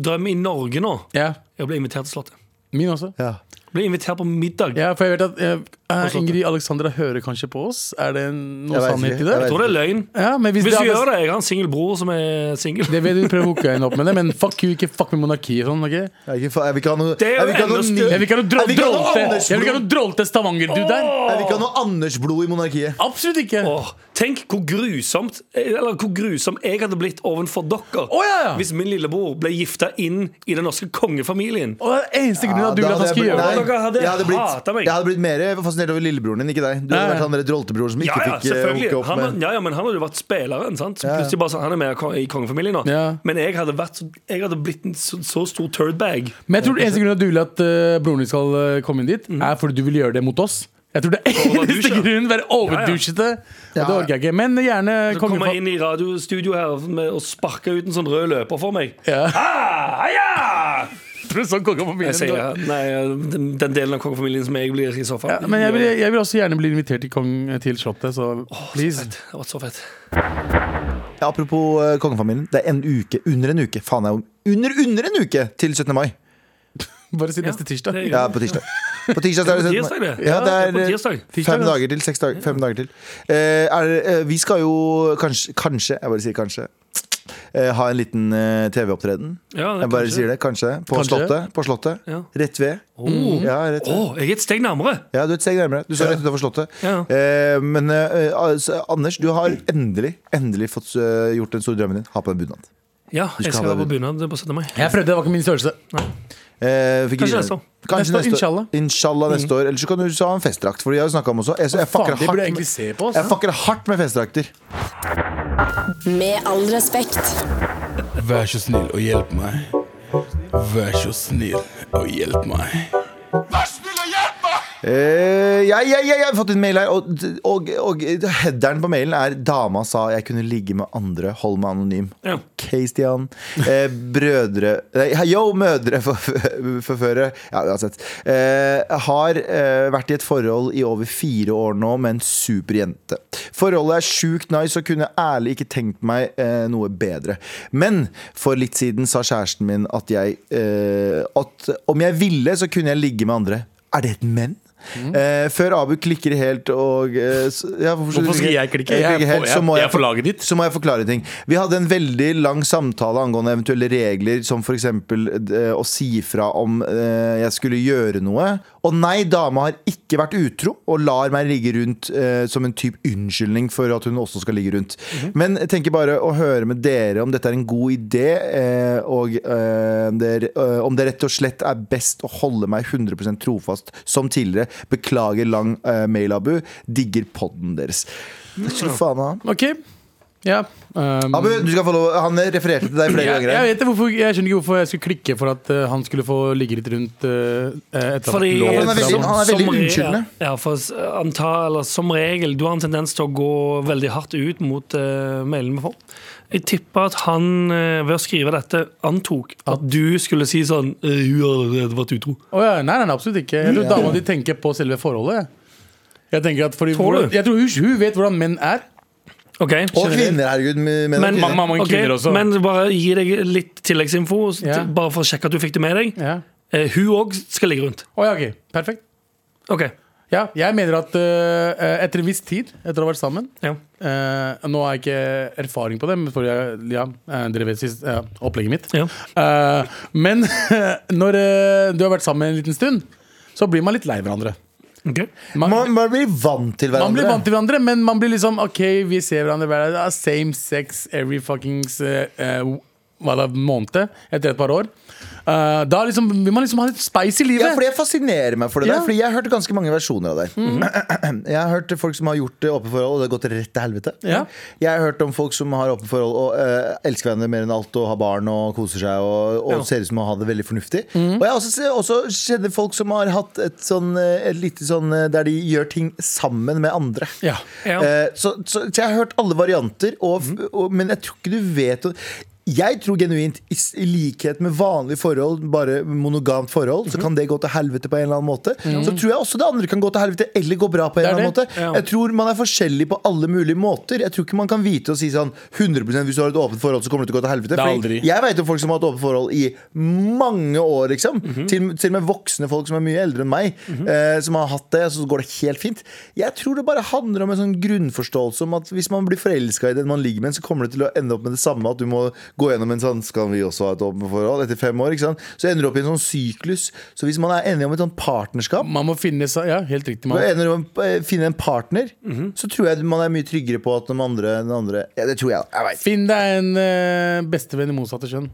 Speaker 3: drøm i Norge nå
Speaker 4: Ja,
Speaker 3: er å bli invitert til Slottet.
Speaker 4: min også.
Speaker 2: Ja.
Speaker 3: Bli invitert på middag.
Speaker 4: Ja, for jeg vet at eh, eh,
Speaker 3: sånt.
Speaker 4: Ingrid Alexandra hører kanskje på oss. Er det
Speaker 2: Jeg
Speaker 4: noe
Speaker 2: vet
Speaker 4: sannhet
Speaker 2: ikke.
Speaker 4: i
Speaker 2: Jeg
Speaker 4: det?
Speaker 2: vet
Speaker 3: Jeg tror det er løgn.
Speaker 4: Ja, men hvis,
Speaker 3: Hvis du
Speaker 4: det,
Speaker 3: gjør
Speaker 4: er,
Speaker 3: det, jeg har en singel bror som er singel.
Speaker 4: det vil du prøve å hooke henne opp med det, men fuck you, ikke fuck med monarkiet og sånn. ok?
Speaker 2: Jeg vil ikke fa- jeg vil ikke ha noe
Speaker 3: Det er jo
Speaker 2: Jeg vil ikke ha noe
Speaker 3: enda
Speaker 2: ny-
Speaker 3: større.
Speaker 4: Jeg vil ikke ha noe dro-
Speaker 2: Jeg vil ikke ha noe
Speaker 4: drolte Jeg vil ikke
Speaker 2: Anders-blod.
Speaker 4: ha noe drolte Stavanger, du der.
Speaker 2: Jeg vil ikke ha noe Anders-blod i monarkiet.
Speaker 4: Absolutt ikke.
Speaker 3: Åh, tenk hvor grusomt Eller hvor grusom jeg hadde blitt ovenfor dere
Speaker 4: Å, ja, ja.
Speaker 3: hvis min lillebror ble gifta inn i den norske kongefamilien.
Speaker 4: Og det er den eneste
Speaker 2: Ja,
Speaker 4: grunnen at du
Speaker 2: da
Speaker 4: vil
Speaker 2: hadde
Speaker 4: at han
Speaker 2: jeg
Speaker 4: skal
Speaker 2: blitt-
Speaker 4: gjøre
Speaker 2: nei,
Speaker 4: det.
Speaker 3: Dere hadde
Speaker 2: jeg hadde
Speaker 3: hatet meg.
Speaker 2: blitt- Jeg hadde blitt mer fascinert over lillebroren din, ikke deg. Du hadde
Speaker 4: Nei.
Speaker 2: vært han der droltebroren som
Speaker 3: Ja,
Speaker 2: ikke fikk
Speaker 3: ja,
Speaker 2: eh,
Speaker 3: selvfølgelig.
Speaker 2: hooke opp
Speaker 3: Han, var-
Speaker 2: med
Speaker 3: ja, ja, men han hadde jo vært spilleren. Sant? Så
Speaker 2: Ja, ja.
Speaker 3: Plutselig bare sånn, Han er med i kong- i kongefamilien nå.
Speaker 4: Ja.
Speaker 3: Men jeg hadde, vært, så- jeg hadde blitt en så, så stor turdbag.
Speaker 4: Men jeg tror den eneste grunnen at du vil at eh, broren din skal eh, komme inn dit,
Speaker 3: Mm.
Speaker 4: er fordi du vil gjøre det mot oss. Jeg tror det er eneste
Speaker 3: Overdusja.
Speaker 4: grunnen. Være overdusjete. Og
Speaker 2: Ja,
Speaker 4: det
Speaker 2: ja.
Speaker 4: orker jeg ikke. Men gjerne
Speaker 3: Så
Speaker 4: kongen
Speaker 3: kommer jeg inn i radiostudio her med, og sparker ut en sånn rød løper for meg.
Speaker 4: Ja.
Speaker 3: Ah, ja!
Speaker 4: Tror du sånn kongefamilien
Speaker 3: Jeg sier ja. Nei, den, den delen av kongefamilien som jeg blir i så fall.
Speaker 4: Ja, men jeg vil, jeg vil også gjerne bli invitert til, kong, eh, til Slottet, så please.
Speaker 3: Det har vært så fett.
Speaker 2: det. Ja, apropos eh, kongefamilien. Det er en uke, under en uke, faen jeg om Under, under en uke til 17. mai!
Speaker 4: Bare si neste tirsdag.
Speaker 3: det-
Speaker 2: Ja, på tirsdag. På tirsdag så er det
Speaker 3: Det er
Speaker 2: 17.
Speaker 3: på tirsdag, det.
Speaker 2: Ja, det er
Speaker 3: Ja, det er på
Speaker 2: eh,
Speaker 3: tirsdag.
Speaker 4: Tirsdag,
Speaker 2: fem
Speaker 4: ja.
Speaker 2: dager til. Seks dager, fem dager til. Eh, er, det- eh, vi skal jo kanskje, kanskje Jeg bare sier kanskje. eh, ha en liten eh, TV-opptreden.
Speaker 3: Ja, det
Speaker 2: Jeg bare
Speaker 3: kanskje.
Speaker 2: sier det. Kanskje. På
Speaker 4: Kanskje.
Speaker 2: Slottet. På slottet.
Speaker 3: Ja.
Speaker 2: Rett ved. Mm. Ja, rett
Speaker 3: Å,
Speaker 2: ved.
Speaker 3: jeg er et steg nærmere!
Speaker 2: Ja, du er et steg nærmere. Du står rett utenfor Slottet.
Speaker 3: Ja.
Speaker 2: Eh, men eh, altså, Anders, du har endelig endelig fått eh, gjort den store drømmen din. Ha på deg bunad.
Speaker 3: Ja,
Speaker 2: skal
Speaker 3: jeg skal
Speaker 2: ha
Speaker 3: være på
Speaker 2: det.
Speaker 3: bunad på 17. mai.
Speaker 4: Jeg prøvde, det var ikke min størrelse.
Speaker 2: Eh, fikk
Speaker 3: Kanskje
Speaker 2: grine.
Speaker 3: neste år.
Speaker 2: Kanskje neste
Speaker 4: Neste år,
Speaker 2: år.
Speaker 4: inshallah. Mm.
Speaker 2: Inshallah neste år. Eller så kan du så ha en festdrakt. For de har jo snakket om også. Jeg, så jeg,
Speaker 4: Faen,
Speaker 2: fucker
Speaker 4: det burde
Speaker 2: hardt
Speaker 4: jeg
Speaker 2: med-
Speaker 4: egentlig se på. altså. ass.
Speaker 2: jeg fucker hardt med festdrakter.
Speaker 1: Med all respekt.
Speaker 4: Vær så snill og hjelp meg. Vær så snill og hjelp meg.
Speaker 5: Vær snill og hjelp meg!
Speaker 2: Eh, jeg, jeg, jeg, jeg har fått en mail her, og, og, og headeren på mailen er 'Dama sa jeg kunne ligge med andre, hold meg anonym'.
Speaker 3: Ja.
Speaker 2: Ok, Stian. Eh, brødre Nei, yo, mødre forf- forføre. Ja, uansett. Eh, har eh, vært i et forhold i over fire år nå med en super jente. Forholdet er sjukt nice og kunne ærlig ikke tenkt meg eh, noe bedre. Men for litt siden sa kjæresten min at jeg eh, At om jeg ville, så kunne jeg ligge med andre. Er det et men?
Speaker 4: Mm.
Speaker 2: Eh, før Abu klikker helt og eh, s- ja,
Speaker 4: Hvorfor skal jeg klikke?
Speaker 2: Jeg klikker helt, så må
Speaker 4: jeg er for laget ditt.
Speaker 2: så må jeg forklare ting. Vi hadde en veldig lang samtale angående eventuelle regler, som f.eks. Eh, å si fra om eh, jeg skulle gjøre noe. Og nei, dama har ikke vært utro og lar meg ligge rundt eh, som en type unnskyldning for at hun også skal ligge rundt. Men jeg tenker bare å høre med dere om dette er en god idé, eh, og eh, om det, eh, om det rett og slett er best å holde meg 100 trofast som tidligere. Beklager lang eh, mail, Abu. Digger podden deres. Skulle faen ha.
Speaker 4: Ok, ja um,
Speaker 2: Abu, du skal få lov Han refererte til deg flere
Speaker 4: jeg,
Speaker 2: ganger.
Speaker 4: jeg vet ikke hvorfor, jeg skjønner ikke hvorfor jeg skulle klikke for at eh, han skulle få ligge litt rundt eh, eh, etter
Speaker 3: Fordi
Speaker 4: at
Speaker 2: han er veldig-
Speaker 4: loven
Speaker 2: han er veldig
Speaker 3: som re-
Speaker 2: unnskyldende.
Speaker 3: Ja, for s- anta, eller Som regel Du har en tendens til å gå veldig hardt ut mot eh, mailene vi får. Jeg tipper at han eh, ved å skrive dette antok at du skulle si sånn «Eh, Hun har allerede vært utro.
Speaker 4: Å ja, nei, nei, nei, absolutt ikke. Jeg tror dama di tenker på selve forholdet. Jeg tenker at fordi,
Speaker 3: Tror du?
Speaker 4: Jeg tror hun, hun vet hvordan menn er.
Speaker 3: Ok,
Speaker 2: Og kvinner, herregud. Men, men,
Speaker 3: Men-
Speaker 4: Mange, mange
Speaker 3: Ok,
Speaker 4: kvinner også.
Speaker 3: Men bare gi deg litt tilleggsinfo, s-
Speaker 4: Ja.
Speaker 3: bare for å sjekke at du fikk det med deg.
Speaker 4: ja.
Speaker 3: Eh, Hun òg skal ligge rundt.
Speaker 4: Å ja, ok, perfekt.
Speaker 3: Ok,
Speaker 4: Ja, jeg mener at eh, etter en viss tid, etter å ha vært sammen
Speaker 3: ja.
Speaker 4: eh, Nå har jeg ikke erfaring på det, men for jeg, ja, eh, dere vet sist, eh, opplegget mitt.
Speaker 3: ja.
Speaker 4: Eh, men når eh, du har vært sammen en liten stund, så blir man litt lei hverandre.
Speaker 3: Ok.
Speaker 4: Man,
Speaker 2: man, man blir vant til hverandre.
Speaker 4: Man blir vant til hverandre, men man blir liksom OK, vi ser hverandre hver dag. Same sex every fuckings eh, eh, hva da, måned etter et par år. Eh, da liksom, vil man liksom ha litt spice i livet.
Speaker 2: ja, for det fascinerer meg for det
Speaker 4: Ja. Mhm.
Speaker 2: der. Fordi jeg har hørt ganske mange versjoner av det. Jeg har hørt folk som har gjort det åpne forhold, og det har gått rett til helvete.
Speaker 4: Ja.
Speaker 2: Jeg har hørt om folk som har åpne forhold og eh, elsker hverandre mer enn alt og har barn og koser seg og, og
Speaker 3: Ja.
Speaker 2: ser ut som å ha det veldig fornuftig.
Speaker 4: Mhm.
Speaker 2: Og jeg har også, ser- også kjenner folk som har hatt et sånn eh, et lite sånn eh, der de gjør ting sammen med andre.
Speaker 4: Ja.
Speaker 3: Ja.
Speaker 2: Eh, så, så, så jeg har hørt alle varianter, og,
Speaker 4: Mhm.
Speaker 2: og, men jeg tror ikke du vet å- jeg tror genuint, i, s- i likhet med vanlige forhold, bare monogamt forhold,
Speaker 4: Mhm.
Speaker 2: så kan det gå til helvete på en eller annen måte. Så tror jeg også det andre kan gå til helvete eller gå bra på en
Speaker 4: er
Speaker 2: eller annen
Speaker 4: Mhm. det.
Speaker 2: måte. Jeg tror man er forskjellig på alle mulige måter. Jeg tror ikke man kan vite og si sånn 100 hvis du har et åpent forhold, så kommer det til å gå til helvete.
Speaker 4: Det er
Speaker 2: Fordi
Speaker 4: aldri.
Speaker 2: jeg vet om folk som har hatt åpent forhold i mange år, liksom. til, til og med voksne folk som er mye eldre enn meg, eh, som har hatt det, så går det helt fint. Jeg tror det bare handler om en sånn grunnforståelse om at hvis man blir forelska i den man ligger med, så kommer det til å ende opp med det samme. At du må gå gjennom en sånn Skal vi også ha et åpent forhold? Etter fem år, ikke sant? Så ender du opp i en sånn syklus. Så hvis man er enig om et sånt partnerskap
Speaker 4: Man må finne seg Ja, helt riktig.
Speaker 2: og
Speaker 4: Mm, Man.
Speaker 2: ender om å eh, finne en partner, så tror jeg man er mye tryggere på at den andre, den andre ja, Det tror jeg. jeg vet.
Speaker 4: Finn deg en eh, bestevenn i motsatte kjønn,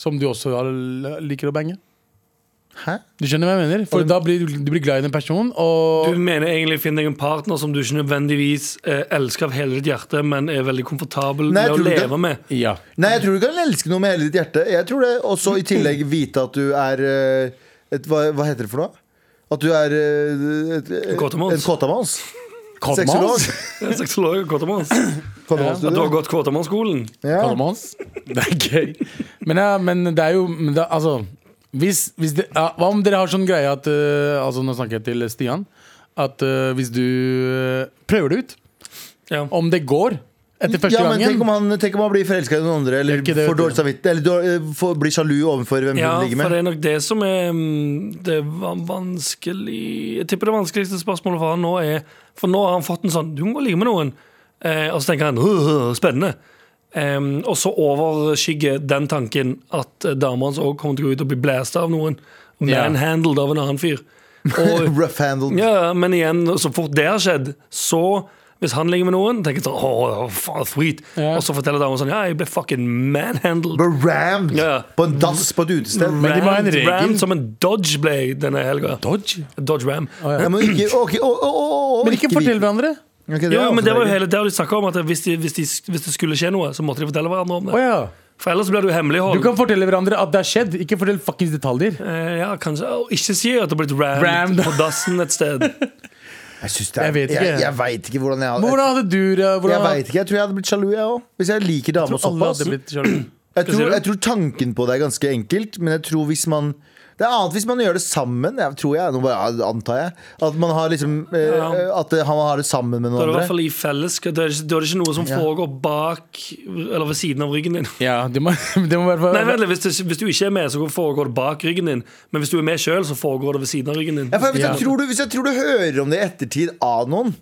Speaker 4: som du også har, liker å bange.
Speaker 2: Hæ?
Speaker 4: Du skjønner hva jeg mener? For da blir du, du blir glad i den personen, og
Speaker 3: Du mener egentlig finn deg en partner som du ikke nødvendigvis eh, elsker av hele ditt hjerte, men er veldig komfortabel
Speaker 2: Nei, jeg
Speaker 3: med å
Speaker 2: tror ikke det.
Speaker 3: leve med.
Speaker 4: Ja.
Speaker 2: Nei, jeg tror du kan elske noe med hele ditt hjerte. Jeg tror det, Og så i tillegg vite at du er eh, et, hva, hva heter det for noe? At du er eh, et, et,
Speaker 3: Kåtamons.
Speaker 2: en kåtamons.
Speaker 4: Kalmans?
Speaker 2: Sexolog.
Speaker 3: Sexolog og kåtamans. At du har
Speaker 2: Kåtamannsstudio.
Speaker 3: gått kåtamannsskolen.
Speaker 2: Ja.
Speaker 4: Kalmans? Det er gøy. Men, ja, men det er jo men det, Altså, hvis, hvis det, ja, hva om dere har sånn greie at eh, Altså, nå snakker jeg til Stian. At eh, hvis du eh, prøver det ut,
Speaker 3: Ja.
Speaker 4: om det går etter første
Speaker 2: ja, men tenk om
Speaker 4: gangen
Speaker 2: han, tenk om han blir forelska i noen andre, eller
Speaker 4: Det er ikke det,
Speaker 2: får dårlig
Speaker 4: vet du.
Speaker 2: samvittighet, eller dår- eh, får, blir sjalu overfor hvem
Speaker 3: ja,
Speaker 2: hun ligger
Speaker 3: for
Speaker 2: med.
Speaker 3: det er nok det som er mm, det van- vanskelig Jeg tipper det vanskeligste spørsmålet for han nå er For nå har han fått en sånn Du må ligge med noen. Eh, og så tenker han «Åh, spennende. Em, og så overskygger den tanken at eh, dama hans òg kommer til å gå ut og bli blæsta av noen.
Speaker 4: Ja.
Speaker 3: Manhandled av en annen fyr. Og
Speaker 2: Rough handled.
Speaker 3: Ja, men igjen, så fort det har skjedd, så hvis han ligger med noen, tenker jeg sånn Åh, faen, sweet.
Speaker 4: Ja.
Speaker 3: Og så forteller damen sånn Ja, jeg ble fucking manhandled.
Speaker 2: Ble rammed
Speaker 3: Ja.
Speaker 2: på en dass på et utested.
Speaker 4: Men de må ha en
Speaker 3: Rammed-
Speaker 4: regel.
Speaker 3: rammed som en Dodge ble jeg denne helga.
Speaker 4: Dodge?
Speaker 3: Dodge Ram.
Speaker 2: Ja, men ikke, ok, å, å, å, å,
Speaker 4: Men ikke fortell
Speaker 2: vite.
Speaker 4: hverandre.
Speaker 2: Ok, det
Speaker 3: Jo,
Speaker 2: er
Speaker 3: men
Speaker 2: også
Speaker 3: det var jo
Speaker 2: veldig-
Speaker 3: hele det har de snakket om, at hvis, de, hvis, de, hvis det skulle skje noe, så måtte de fortelle hverandre om
Speaker 4: Å
Speaker 3: det.
Speaker 4: ja.
Speaker 3: For ellers blir du hemmelighold.
Speaker 4: Du kan fortelle hverandre at det har skjedd, ikke fortell fuckings detaljer.
Speaker 3: Eh, ja, kanskje Og ikke si at det har blitt rammed
Speaker 4: Rammed.
Speaker 3: på dassen et sted.
Speaker 2: Jeg, synes det er,
Speaker 4: Jeg vet ikke.
Speaker 2: Jeg, jeg vet ikke hvordan jeg
Speaker 4: Men
Speaker 2: hadde
Speaker 4: hvordan hadde du det?
Speaker 2: jeg
Speaker 4: hvordan,
Speaker 2: vet ikke, jeg tror jeg hadde blitt sjalu, jeg òg. Hvis jeg liker damer
Speaker 4: Alle
Speaker 2: såpass.
Speaker 4: hadde blitt sjalu.
Speaker 2: Jeg
Speaker 3: sier
Speaker 2: tror,
Speaker 3: du?
Speaker 2: jeg tror tanken på det er ganske enkelt, men jeg tror hvis man det er annet hvis man gjør det sammen, jeg, tror jeg. Nå bare ja, antar jeg. At man har liksom eh,
Speaker 3: Ja.
Speaker 2: At eh, han har det sammen med noen
Speaker 3: Da er det i hvert
Speaker 2: andre.
Speaker 3: fall i felles Da er det ikke, da er det ikke noe som
Speaker 2: Ja.
Speaker 3: foregår bak eller ved siden av ryggen din.
Speaker 4: Ja, det må, det må være
Speaker 3: Nei, vent litt, hvis, det, hvis du ikke er med, så foregår det bak ryggen din. Men hvis du er med sjøl, så foregår det ved siden av ryggen din.
Speaker 2: Ja, for hvis,
Speaker 4: Ja.
Speaker 2: jeg tror du, hvis jeg tror du hører om det i ettertid av noen,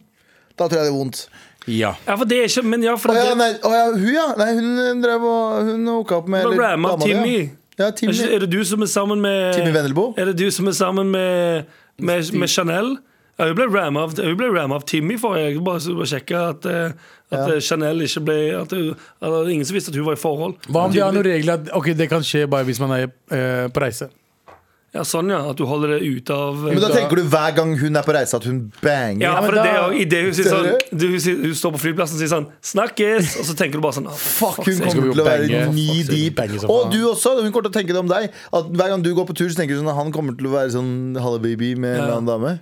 Speaker 2: da tror jeg det er vondt.
Speaker 4: Ja.
Speaker 3: Ja, for det er ikke Men ja, for
Speaker 2: Å ja,
Speaker 3: det,
Speaker 2: nei, å ja, hun ja. Nei, hun drev og Hun hooka opp med
Speaker 3: Men
Speaker 2: eller
Speaker 3: ramma
Speaker 2: dama di, ja.
Speaker 3: Timmy.
Speaker 2: Ja,
Speaker 3: er, ikke,
Speaker 2: Timmy.
Speaker 3: er det du som er sammen med
Speaker 2: Timmy Vendelbo?
Speaker 3: Er det du som er sammen med, med, med Chanel? Ja, hun ble ramma av, hun ble rammet av Timmy forrige uke, bare så å sjekke at, eh, at eh, Chanel ikke ble at, hun- at det var Ingen som visste at hun var i forhold.
Speaker 4: Hva om de har noen regler at ok, det kan skje bare hvis man er eh, på reise?
Speaker 3: Ja, Sånn, ja. At du holder det ute av
Speaker 2: Men da
Speaker 4: da-
Speaker 2: tenker du hver gang hun er på reise, at hun banger.
Speaker 3: Ja,
Speaker 4: men
Speaker 3: for det er
Speaker 4: da-
Speaker 3: jo i det hun sier
Speaker 2: Ser
Speaker 3: sånn
Speaker 2: du?
Speaker 3: du, hun, sier, hun står på flyplassen og sier sånn 'Snakkes!' Og så tenker du bare sånn ah,
Speaker 2: Fuck, hun
Speaker 4: skal vi
Speaker 2: kommer
Speaker 4: jo
Speaker 2: til å være
Speaker 4: bange.
Speaker 2: ny
Speaker 4: Fuck,
Speaker 2: deep.
Speaker 4: bange som
Speaker 2: Og
Speaker 4: faen.
Speaker 2: du også. Hun kommer til å tenke det om deg. At Hver gang du går på tur, så tenker du sånn at han kommer til å være sånn halla baby med en eller annen dame.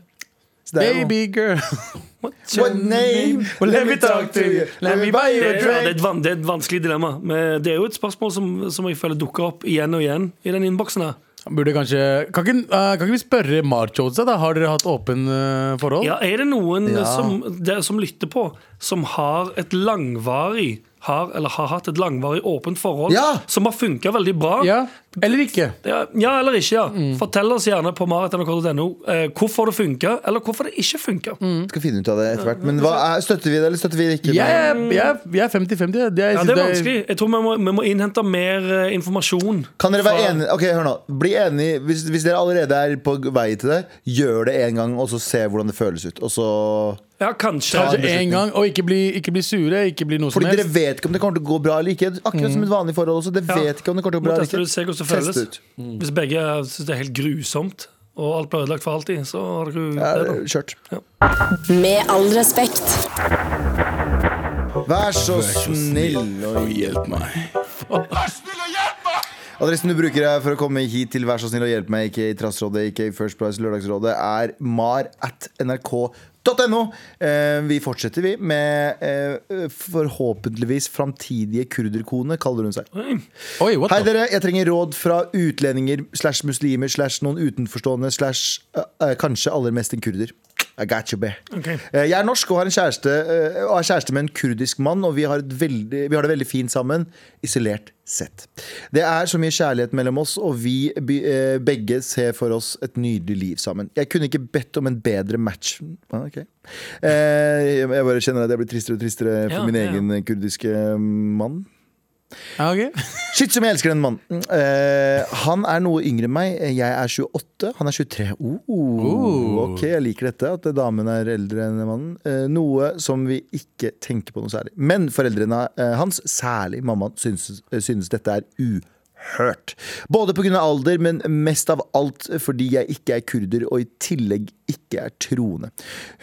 Speaker 2: Så det er jo-
Speaker 4: Baby girl.
Speaker 3: What's your
Speaker 2: What name?
Speaker 4: Well, let me talk to you. Let me buy you
Speaker 3: Det
Speaker 4: a
Speaker 3: er, ja, det, er et van, det er et vanskelig dilemma. Men eh, det er jo et spørsmål som, som jeg føler dukker opp igjen og igjen i den innboksen. her
Speaker 4: Han Burde kanskje Kan ikke, eh, kan ikke vi spørre Marchoza, da? Har dere hatt åpen eh, forhold?
Speaker 3: Ja, er det noen
Speaker 2: Ja.
Speaker 3: som, det, som lytter på, som har et langvarig har, eller har hatt et langvarig åpent forhold
Speaker 2: Ja.
Speaker 3: som har funka veldig bra?
Speaker 4: Ja? Eller ikke?
Speaker 3: Ja, ja eller ikke, ja.
Speaker 4: Mm.
Speaker 3: Fortell oss gjerne på marit.nrk.no eh, hvorfor det funka, eller hvorfor det ikke funka.
Speaker 4: Mm.
Speaker 2: Skal finne ut av det etter hvert. Men hva er, støtter vi det, eller støtter vi det ikke?
Speaker 4: Jeg er- jeg er jeg er 50-50. jeg. jeg
Speaker 3: Ja,
Speaker 4: synes
Speaker 3: det er vanskelig. Jeg tror vi må, vi må innhente mer eh, informasjon.
Speaker 2: Kan dere være
Speaker 3: fra-
Speaker 2: enige? Ok, hør nå Bli enige hvis, hvis dere allerede er på vei til det, gjør det en gang, og så se hvordan det føles ut. Og så
Speaker 3: Ja, kanskje.
Speaker 4: Kanskje
Speaker 2: beslutning.
Speaker 4: Altså, en gang, og ikke bli, ikke bli sure. Ikke bli noe som
Speaker 2: Fordi dere
Speaker 4: helst. Mm.
Speaker 2: vet ikke om det kommer til å gå bra eller ikke. Akkurat som et vanlig forhold også. Dere
Speaker 3: Ja.
Speaker 2: vet ikke om det kommer til å gå
Speaker 3: Må
Speaker 2: bra
Speaker 3: teste
Speaker 2: eller
Speaker 3: det, se hvordan det
Speaker 2: ikke. Test
Speaker 3: føles.
Speaker 2: ut.
Speaker 3: Hvis begge syns det er helt grusomt, og alt blir ødelagt for alltid, så har dere jo
Speaker 2: Ja,
Speaker 3: det, da.
Speaker 2: Kjørt.
Speaker 1: Med all respekt.
Speaker 2: Vær så snill og
Speaker 4: Hjelp meg.
Speaker 2: Adressen du bruker her for å komme hit til Vær så snill og hjelp meg, ikke i Trassrådet, ikke i First Price Lørdagsrådet, er mar at nrk.no. Eh, vi fortsetter, vi, med eh, forhåpentligvis framtidige kurderkone, kaller hun seg.
Speaker 4: Oi, what
Speaker 2: Hei
Speaker 4: the
Speaker 2: dere, jeg trenger råd fra utlendinger slash muslimer slash noen utenforstående slash eh, eh, kanskje aller mest en kurder. I got you, be.
Speaker 3: Ok.
Speaker 2: Eh, Jeg er norsk og har en kjæreste eh, Og er kjæreste med en kurdisk mann Og vi har, et veldig, vi har det veldig fint sammen Isolert sett Det er så mye kjærlighet mellom oss Og vi be- eh, begge ser for oss et nydelig liv sammen Jeg kunne ikke bedt om en bedre match ah, ok. Eh, Jeg jeg bare kjenner at jeg blir tristere og tristere For
Speaker 3: Ja,
Speaker 2: min
Speaker 3: ja, ja.
Speaker 2: egen kurdiske eh, mann
Speaker 4: Ja, ok.
Speaker 2: Shit som jeg elsker den mannen. Eh, han er noe yngre enn meg. Eh, Jeg er 28, han er 23. Oh, Ok, jeg liker dette, at damen er eldre enn mannen. Eh, noe som vi ikke tenker på noe særlig. Men foreldrene eh, hans, særlig mammaen, synes, eh, synes dette er uhørt. Både pga. alder, men mest av alt fordi jeg ikke er kurder og i tillegg ikke er troende.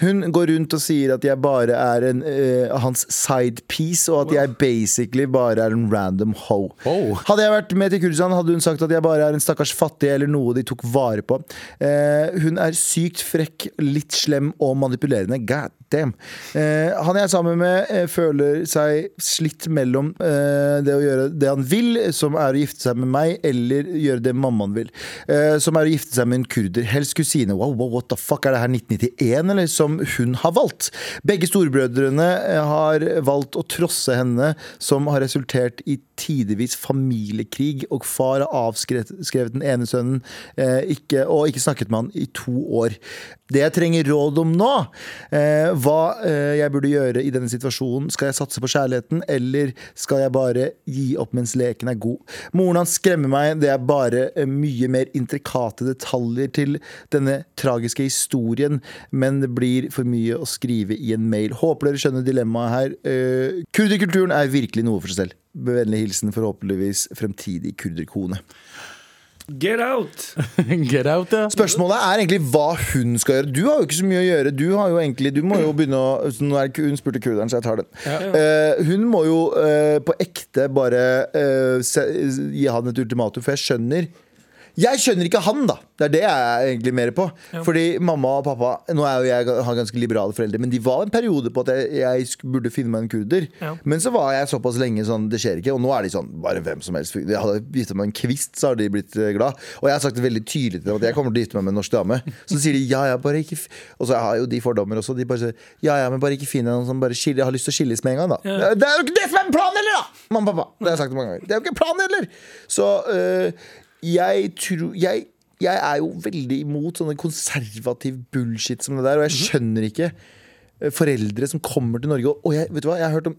Speaker 2: Hun går rundt og sier at jeg bare er en, eh, hans sidepiece, og at jeg basically bare er en random hoe.
Speaker 4: Wow.
Speaker 2: Hadde jeg vært med til Kurdistan, hadde hun sagt at jeg bare er en stakkars fattig eller noe de tok vare på. Eh, hun er sykt frekk, litt slem og manipulerende. God damn. Eh, han jeg er sammen med, eh, føler seg slitt mellom eh, det å gjøre det han vil, som er å gifte seg med meg, eller gjøre det mammaen vil, eh, som er å gifte seg med en kurder. Helst kusine. Wow, wow, what the fuck, er det her 1991, eller? Som hun har valgt. Begge storbrødrene eh, har valgt å trosse henne, som har resultert i tidvis familiekrig, og far har avskrevet den ene sønnen eh, ikke, og ikke snakket med han i to år. Det jeg trenger råd om nå, eh, hva eh, jeg burde gjøre i denne situasjonen, skal jeg satse på kjærligheten, eller skal jeg bare gi opp mens leken er god? Moren hans skremmer meg, det er bare eh, mye mer intrikate detaljer til denne tragiske historien, men det blir for mye å skrive i en mail. Håper dere skjønner dilemmaet her. Eh, Kurderkulturen er virkelig noe for seg selv. Med vennlig hilsen forhåpentligvis fremtidig kurderkone.
Speaker 3: Get out!
Speaker 4: Get out, ja.
Speaker 2: Spørsmålet er egentlig hva hun skal gjøre. Du har jo ikke så mye å gjøre. Du, har jo egentlig, du må jo begynne å så Nå er det ikke hun spurte kurderen, så jeg tar den. Eh, hun må jo eh, på ekte bare eh, se, gi han et ultimatum, for jeg skjønner jeg skjønner ikke han, da! Det er det jeg er egentlig mer på. Fordi mamma og pappa Nå er jo jeg har ganske liberale foreldre, men de var en periode på at jeg, jeg sk- burde finne meg en kurder.
Speaker 3: Ja.
Speaker 2: Men så var jeg såpass lenge sånn, det skjer ikke. Og nå er de sånn, bare hvem som helst. Jeg hadde gifta meg med en kvist, så har de blitt eh, glad. Og jeg har sagt det veldig tydelig til dem at jeg kommer til å gifte meg med en norsk dame. Så sier de ja, ja, bare ikke f Og så har jeg jo de fordommer også. De bare sier ja, ja, men bare ikke finn deg noen som bare skiller, har lyst til å skilles med en gang, da. Det er jo ikke det som er planen heller, da! Mamma og pappa. Det har jeg sagt mange ganger. Det er jo ikke planen heller! Så eh, jeg tror jeg, jeg er jo veldig imot sånne konservativ bullshit som det der, og jeg skjønner ikke eh, foreldre som kommer til Norge og, og jeg, vet du hva, jeg har hørt om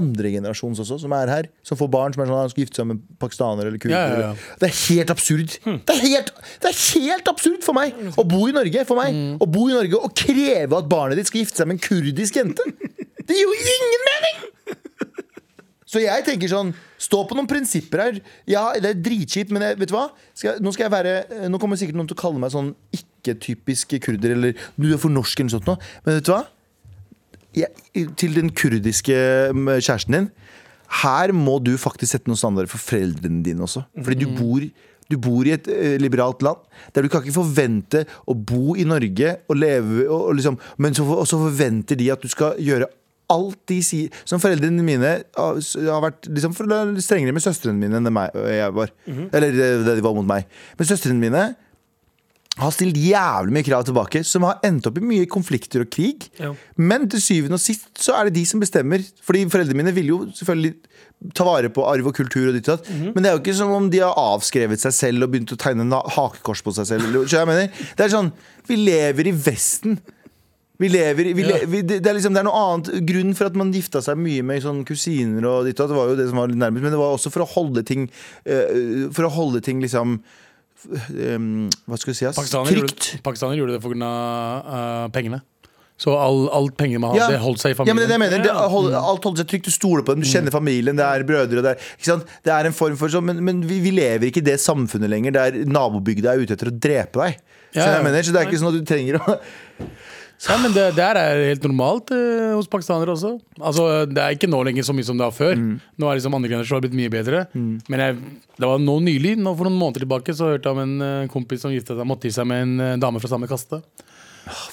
Speaker 2: andre generasjons også, som er her, som får barn som er sånn, han skal gifte seg med pakistanere eller kurder.
Speaker 4: Ja, ja, Hmm. ja.
Speaker 2: eller- Det er helt absurd. Det, er helt, det er helt absurd for meg å bo i Norge for meg,
Speaker 4: Hmm.
Speaker 2: å bo i Norge og kreve at barnet ditt skal gifte seg med en kurdisk jente. Det gir jo ingen mening! Så jeg tenker sånn Stå på noen prinsipper her. Ja, det er dritkjipt, men jeg, vet du hva? Skal, jeg- nå, skal jeg være, eh, nå kommer sikkert noen til å kalle meg sånn ikke-typisk kurder, eller du er for norsk, eller sånt noe. Men vet du hva? Jeg, til den kurdiske mm, kjæresten din. Her må du faktisk sette noen standarder for foreldrene dine også. Fordi du bor, du bor i et eh, liberalt land, der du kan ikke forvente å bo i Norge og leve og, og liksom, Men så, for- og så forventer de at du skal gjøre alt de sier Som foreldrene mine har har vært liksom, for- strengere med søstrene mine enn det meg, eh, jeg var. Eller det det de var mot meg. Men søstrene mine har stilt jævlig mye krav tilbake, som har endt opp i mye konflikter og krig.
Speaker 3: Ja.
Speaker 2: Men til syvende og sist så er det de som bestemmer. Fordi foreldrene mine vil jo selvfølgelig ta vare på arv og kultur, og ditt og datt. Men det er jo ikke som om de har avskrevet seg selv og begynt å tegne en ha- hakekors på seg selv. Eller, skjønner du hva jeg mener? Det er sånn, Vi lever i Vesten. Vi lever, i- vi le, vi, det, det er liksom, det er noe annet Grunnen for at man gifta seg mye med sånn kusiner og ditt, og datt, det var jo det som var litt nærmest, men det var også for å holde ting eh, For å holde ting liksom eh, Hva skal vi si? ass?
Speaker 4: Pakistaner
Speaker 2: Trygt.
Speaker 4: gjorde, pakistaner gjorde det pga. Uh, pengene. Så all, alt pengene man hadde, holdt seg i
Speaker 2: Ja, men det, er
Speaker 4: familien.
Speaker 2: det jeg mener, det,
Speaker 3: Ja.
Speaker 2: hold, alt holder seg trygt. Du stoler på dem, du kjenner familien, det er brødre og det er, ikke sant? Det er en form for sånn, Men, men vi, vi lever ikke i det samfunnet lenger der nabobygda er ute etter å drepe deg. Skjønner du
Speaker 4: Ja,
Speaker 2: hva
Speaker 4: ja.
Speaker 2: jeg mener? Så det er ikke sånn at du trenger å
Speaker 4: ja, men det der er helt normalt eh, hos pakistanere også. Altså, Det er ikke nå lenger så mye som det var før. Nå er liksom andre generasjon har blitt mye bedre. Men jeg, det var nå nylig, nå for noen måneder tilbake, så hørte jeg om en eh, kompis som gifta seg, måtte gi seg med en eh, dame fra samme kaste.